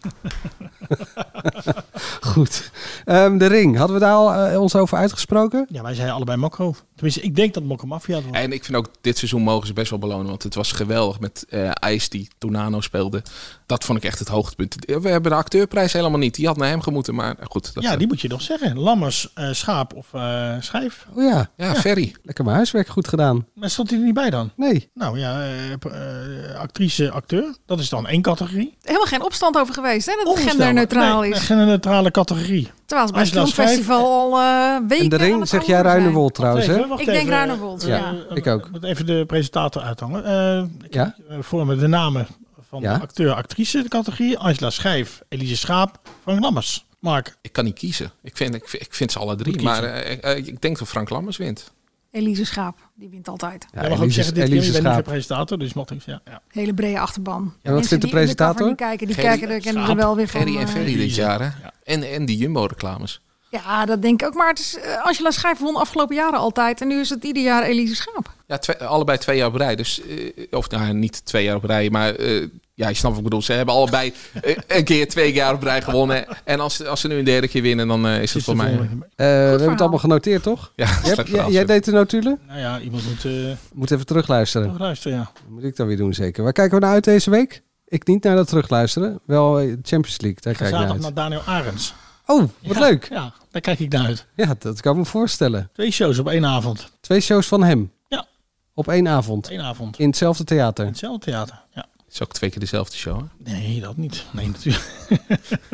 [SPEAKER 8] Goed. Ehm, de ring, hadden we daar al eh, ons over uitgesproken?
[SPEAKER 10] Ja, wij zijn allebei Mokko. Tenminste, ik denk dat Mokko Mafia het wordt.
[SPEAKER 7] En ik vind ook dit seizoen mogen ze best wel belonen. Want het was geweldig met eh Ice die Tornano speelde. Dat vond ik echt het hoogtepunt. We hebben de acteurprijs helemaal niet. Die had naar hem gemoeten. Maar goed. Dat, eh,
[SPEAKER 10] Ja, die moet je toch zeggen. Lammers, eh, schaap of eh, schijf.
[SPEAKER 8] Oh ja.
[SPEAKER 7] Ja, Ferry.
[SPEAKER 8] Lekker mijn huiswerk goed gedaan.
[SPEAKER 10] Maar stond hij er niet bij dan?
[SPEAKER 8] Nee.
[SPEAKER 10] Nou ja, eh, p- eh, actrice, acteur. Dat is dan één categorie.
[SPEAKER 9] Helemaal geen opstand over geweest, hè? Dat het
[SPEAKER 10] Onvoorstelbaar.
[SPEAKER 9] genderneutraal
[SPEAKER 10] Nee, nee,
[SPEAKER 9] is.
[SPEAKER 10] genderneutrale categorie.
[SPEAKER 9] Terwijl ze bij het
[SPEAKER 10] Angela Schrijf-
[SPEAKER 9] filmfestival al eh, weken
[SPEAKER 8] En de
[SPEAKER 9] aan
[SPEAKER 8] ring,
[SPEAKER 9] het
[SPEAKER 8] zeg jij
[SPEAKER 9] veranderen zijn.
[SPEAKER 8] Ruinewold trouwens, hè?
[SPEAKER 10] Even, wacht
[SPEAKER 9] Ik denk
[SPEAKER 10] even.
[SPEAKER 9] Ruinewold, ja.
[SPEAKER 8] ik ook.
[SPEAKER 10] Moet even de presentator uithangen. Eh, ik-
[SPEAKER 8] Ja?
[SPEAKER 10] eh, Voor me de namen van
[SPEAKER 7] Ja.
[SPEAKER 10] de acteur-actrice categorie. Angela Schijf, Elise Schaap, Frank Lammers. Mark.
[SPEAKER 7] Ik kan niet kiezen. Ik vind, ik, vind- ik vind ze alle drie.
[SPEAKER 10] Moet
[SPEAKER 7] Maar
[SPEAKER 10] kiezen.
[SPEAKER 7] eh, ik- eh, ik denk dat Frank Lammers wint.
[SPEAKER 9] Elise Schaap, die wint altijd.
[SPEAKER 10] Ja, mag ook zeggen, dit keer
[SPEAKER 7] Elise
[SPEAKER 10] ben ik niet de
[SPEAKER 7] Schaap.
[SPEAKER 10] presentator, dus mag niks. Ja, ja.
[SPEAKER 9] Hele brede achterban.
[SPEAKER 7] wat vindt
[SPEAKER 9] Mensen
[SPEAKER 7] de
[SPEAKER 9] die in cover
[SPEAKER 7] presentator?
[SPEAKER 9] niet kijken, die
[SPEAKER 7] Gerry
[SPEAKER 9] kijken er, kennen er
[SPEAKER 7] Schaap,
[SPEAKER 9] wel weer van.
[SPEAKER 7] Gerry en
[SPEAKER 9] eh,
[SPEAKER 7] Ferry dit jaar, hè? En, en die Jumbo-reclames.
[SPEAKER 9] Ja, dat denk ik ook. Maar het is, eh, Angela Schijf won afgelopen jaren altijd. En nu is het ieder jaar Elise Schaap.
[SPEAKER 7] Ja, twee- allebei twee jaar op rij. Dus, eh, of nou, niet twee jaar op rij, maar eh, ja, je snapt wat ik bedoel. Ze hebben allebei eh, een keer twee jaar op rij gewonnen. En als, ze- als ze nu een derde keer winnen, dan eh, is het voor mij... eh,
[SPEAKER 8] we hebben het allemaal genoteerd, toch?
[SPEAKER 7] Ja,
[SPEAKER 8] Jij,
[SPEAKER 7] slecht
[SPEAKER 8] hebt- jij,
[SPEAKER 7] verhaal,
[SPEAKER 8] jij
[SPEAKER 7] zeg.
[SPEAKER 8] deed de notulen?
[SPEAKER 10] Nou ja, Oh. iemand moet eh
[SPEAKER 8] Moet even terugluisteren.
[SPEAKER 10] nog luisteren, ja.
[SPEAKER 8] Dat moet ik dan weer doen, zeker. Waar kijken we naar uit deze week? Ik niet naar dat terugluisteren. Wel eh, Champions League, daar kijk ik naar
[SPEAKER 10] Zaterdag
[SPEAKER 8] uit.
[SPEAKER 10] naar Daniel Arends.
[SPEAKER 8] Oh, wat leuk.
[SPEAKER 10] Ja, daar kijk ik naar uit.
[SPEAKER 8] Ja, dat kan ik me voorstellen.
[SPEAKER 10] Twee shows op één avond.
[SPEAKER 8] Twee shows van hem?
[SPEAKER 10] Ja.
[SPEAKER 8] Op één avond?
[SPEAKER 10] Eén avond.
[SPEAKER 8] In hetzelfde theater?
[SPEAKER 10] Hetzelfde theater, ja.
[SPEAKER 7] Het is ook twee keer dezelfde show, hè?
[SPEAKER 10] Nee, dat niet. Nee, natuurlijk.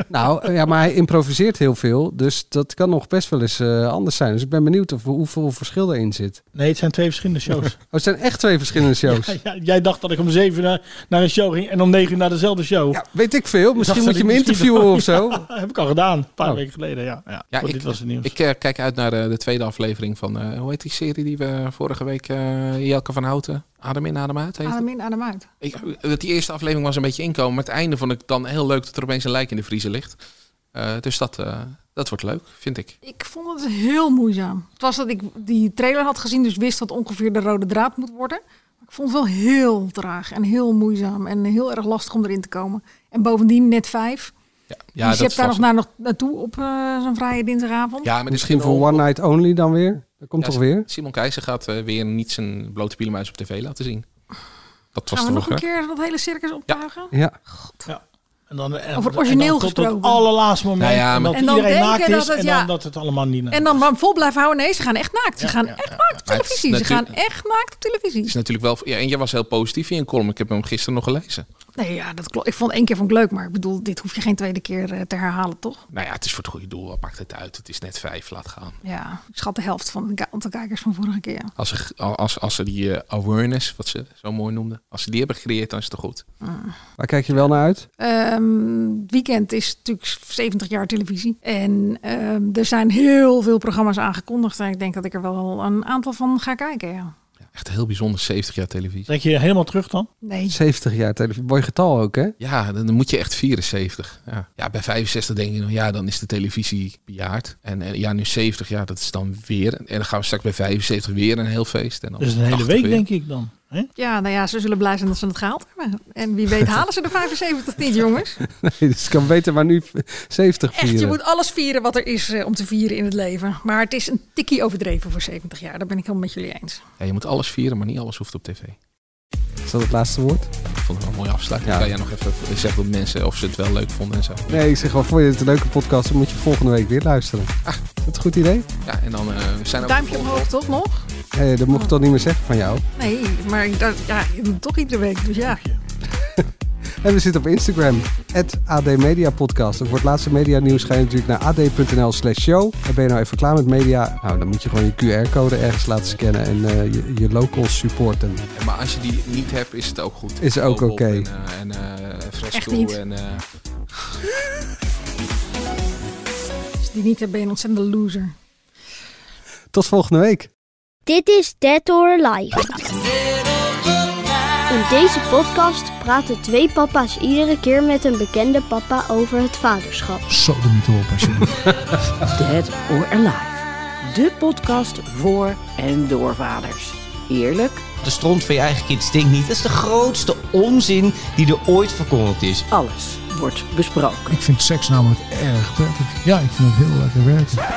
[SPEAKER 8] Nou, eh, ja, maar hij improviseert heel veel. Dus dat kan nog best wel eens eh, anders zijn. Dus ik ben benieuwd of, hoeveel verschil erin zit.
[SPEAKER 10] Nee, het zijn twee verschillende shows.
[SPEAKER 8] Oh, het zijn echt twee verschillende shows.
[SPEAKER 10] Ja, ja, jij dacht dat ik om zeven uur naar, naar een show ging en om negen uur naar dezelfde show.
[SPEAKER 8] weet ik veel.
[SPEAKER 10] dacht
[SPEAKER 8] Misschien
[SPEAKER 10] dat
[SPEAKER 8] moet je
[SPEAKER 10] ik
[SPEAKER 8] me
[SPEAKER 10] misschien-
[SPEAKER 8] interviewen of zo.
[SPEAKER 10] Ja, heb ik al gedaan, een paar
[SPEAKER 8] Oh.
[SPEAKER 10] weken geleden. Ja, ja.
[SPEAKER 7] Ja,
[SPEAKER 10] Goed,
[SPEAKER 7] ik,
[SPEAKER 10] dit was het nieuws.
[SPEAKER 7] ik eh, kijk uit naar eh, de tweede aflevering van, eh, hoe heet die serie die we vorige week, eh, Jelke van Houten, Adem in, Adem uit heet het?
[SPEAKER 9] Adem in, adem uit.
[SPEAKER 7] Ik, dat die eerste aflevering was een beetje inkomen. Maar het einde vond ik dan heel leuk dat er opeens een lijk in de vriezer ligt. Eh, dus dat, eh, dat wordt leuk, vind ik.
[SPEAKER 9] Ik vond het heel moeizaam. Het was dat ik die trailer had gezien, dus wist wat ongeveer de rode draad moet worden. Maar ik vond het wel heel traag en heel moeizaam en heel erg lastig om erin te komen. En bovendien net vijf.
[SPEAKER 7] Ja,
[SPEAKER 9] dus je
[SPEAKER 7] dat is
[SPEAKER 9] hebt daar nog,
[SPEAKER 7] lastig.
[SPEAKER 9] naar, nog naartoe op eh, zo'n vrije dinsdagavond.
[SPEAKER 7] Ja, maar
[SPEAKER 8] Misschien voor One Night Only dan weer. Dat komt
[SPEAKER 7] Ja,
[SPEAKER 8] toch weer?
[SPEAKER 7] Simon Keizer gaat eh, weer niet zijn blote pielemuis op tv laten zien. Dat was
[SPEAKER 9] Gaan we
[SPEAKER 7] toch
[SPEAKER 9] nog een keer dat hele circus optuigen?
[SPEAKER 8] Ja.
[SPEAKER 10] En dan, en,
[SPEAKER 9] Over origineel
[SPEAKER 10] en dan Tot
[SPEAKER 9] gesproken.
[SPEAKER 10] het allerlaatste moment.
[SPEAKER 7] Nou ja,
[SPEAKER 10] en
[SPEAKER 7] maar-
[SPEAKER 10] dat
[SPEAKER 9] En dan
[SPEAKER 10] iedereen
[SPEAKER 9] denken
[SPEAKER 10] naakt is
[SPEAKER 9] dat het-
[SPEAKER 10] en
[SPEAKER 9] ja.
[SPEAKER 10] dan dat het allemaal niet naakt
[SPEAKER 9] En dan maar vol blijven houden. Nee, ze gaan echt naakt. Ze gaan echt naakt op
[SPEAKER 7] Maar het is
[SPEAKER 9] televisie. Ze gaan
[SPEAKER 7] natuurlijk-
[SPEAKER 9] echt naakt op televisie.
[SPEAKER 7] is natuurlijk wel. Ja, en jij was heel positief in je column. Ik heb hem gisteren nog gelezen.
[SPEAKER 9] Nee, ja, dat klopt. Ik vond één keer vond ik leuk, maar ik bedoel, dit hoef je geen tweede keer eh, te herhalen, toch?
[SPEAKER 7] Nou ja, het is voor het goede doel. Wat maakt het uit? Het is net vijf, laat gaan.
[SPEAKER 9] Ja, ik schat de helft van het aantal kijkers van vorige keer.
[SPEAKER 7] Als ze, als, als ze die eh, awareness, wat ze zo mooi noemden, als ze die hebben gecreëerd, dan is het toch goed.
[SPEAKER 9] Mm.
[SPEAKER 8] Waar kijk je wel naar uit?
[SPEAKER 9] Ehm, het weekend is natuurlijk 70 jaar televisie. En ehm, er zijn heel veel programma's aangekondigd. En ik denk dat ik er wel een aantal van ga kijken. Ja.
[SPEAKER 7] Echt heel bijzonder, 70 jaar televisie.
[SPEAKER 10] Trek je helemaal terug dan?
[SPEAKER 9] Nee.
[SPEAKER 8] 70 jaar televisie. Mooi getal ook, hè?
[SPEAKER 7] Ja, dan dan moet je echt 74. Ja, ja bij 65 denk je nog, ja, dan is de televisie bejaard. En, en ja, nu 70, ja, dat is dan weer. En dan gaan we straks bij 75 weer een heel feest. En dan
[SPEAKER 10] Dus een hele
[SPEAKER 7] 80
[SPEAKER 10] week
[SPEAKER 7] weer.
[SPEAKER 10] denk ik dan. Hè?
[SPEAKER 9] ja, nou ja, ze zullen blij zijn dat ze het gehaald hebben. En wie weet halen ze de 75 niet, jongens.
[SPEAKER 8] Nee, dus ik kan beter maar nu 70 vieren.
[SPEAKER 9] Echt, je moet alles vieren wat er is eh, om te vieren in het leven. Maar het is een tikkie overdreven voor 70 jaar. Daar ben ik helemaal met jullie eens.
[SPEAKER 7] Ja, je moet alles vieren, maar niet alles hoeft op tv.
[SPEAKER 8] Is dat het laatste woord?
[SPEAKER 7] Ik vond het wel een mooie afsluiting. Kan jij nog even zeggen dat mensen of ze het wel leuk vonden en zo.
[SPEAKER 8] Nee, ik zeg wel, vond je het een leuke podcast? Dan moet je volgende week weer luisteren.
[SPEAKER 10] Ah.
[SPEAKER 8] Is dat een goed idee?
[SPEAKER 7] Ja, en dan eh, we zijn ook...
[SPEAKER 9] Nou, Duimpje omhoog, toch nog?
[SPEAKER 8] Nee, dat mocht ik dan niet meer zeggen van jou.
[SPEAKER 9] Nee, maar ik dacht, ja, je doet het toch iedere week. Dus ja.
[SPEAKER 8] En we zitten op Instagram, het AD Media Podcast. En voor het laatste media nieuws ga je natuurlijk naar ad.nl slash show. En ben je nou even klaar met media? Nou, dan moet je gewoon je QR-code ergens laten scannen en eh, je, je locals supporten.
[SPEAKER 7] Ja, Maar als je die niet hebt, is het ook goed.
[SPEAKER 8] Is ook
[SPEAKER 7] Bob
[SPEAKER 8] oké.
[SPEAKER 7] En, eh, en eh,
[SPEAKER 9] Echt
[SPEAKER 7] Fresco
[SPEAKER 9] niet.
[SPEAKER 7] en... eh,
[SPEAKER 9] Als je die niet hebt, ben je een ontzettende loser.
[SPEAKER 8] Tot volgende week.
[SPEAKER 15] Dit is Dead or Alive. In deze podcast praten twee papa's iedere keer met een bekende papa over het vaderschap.
[SPEAKER 16] Zo de mythe op, alsjeblieft.
[SPEAKER 17] Dead or Alive. De podcast voor en door vaders. Eerlijk,
[SPEAKER 18] De stront van je eigen kind stinkt niet. Dat is de grootste onzin die er ooit verkondigd is.
[SPEAKER 17] alles wordt besproken.
[SPEAKER 16] Ik vind seks namelijk erg prettig. Ja, ik vind het heel lekker werken.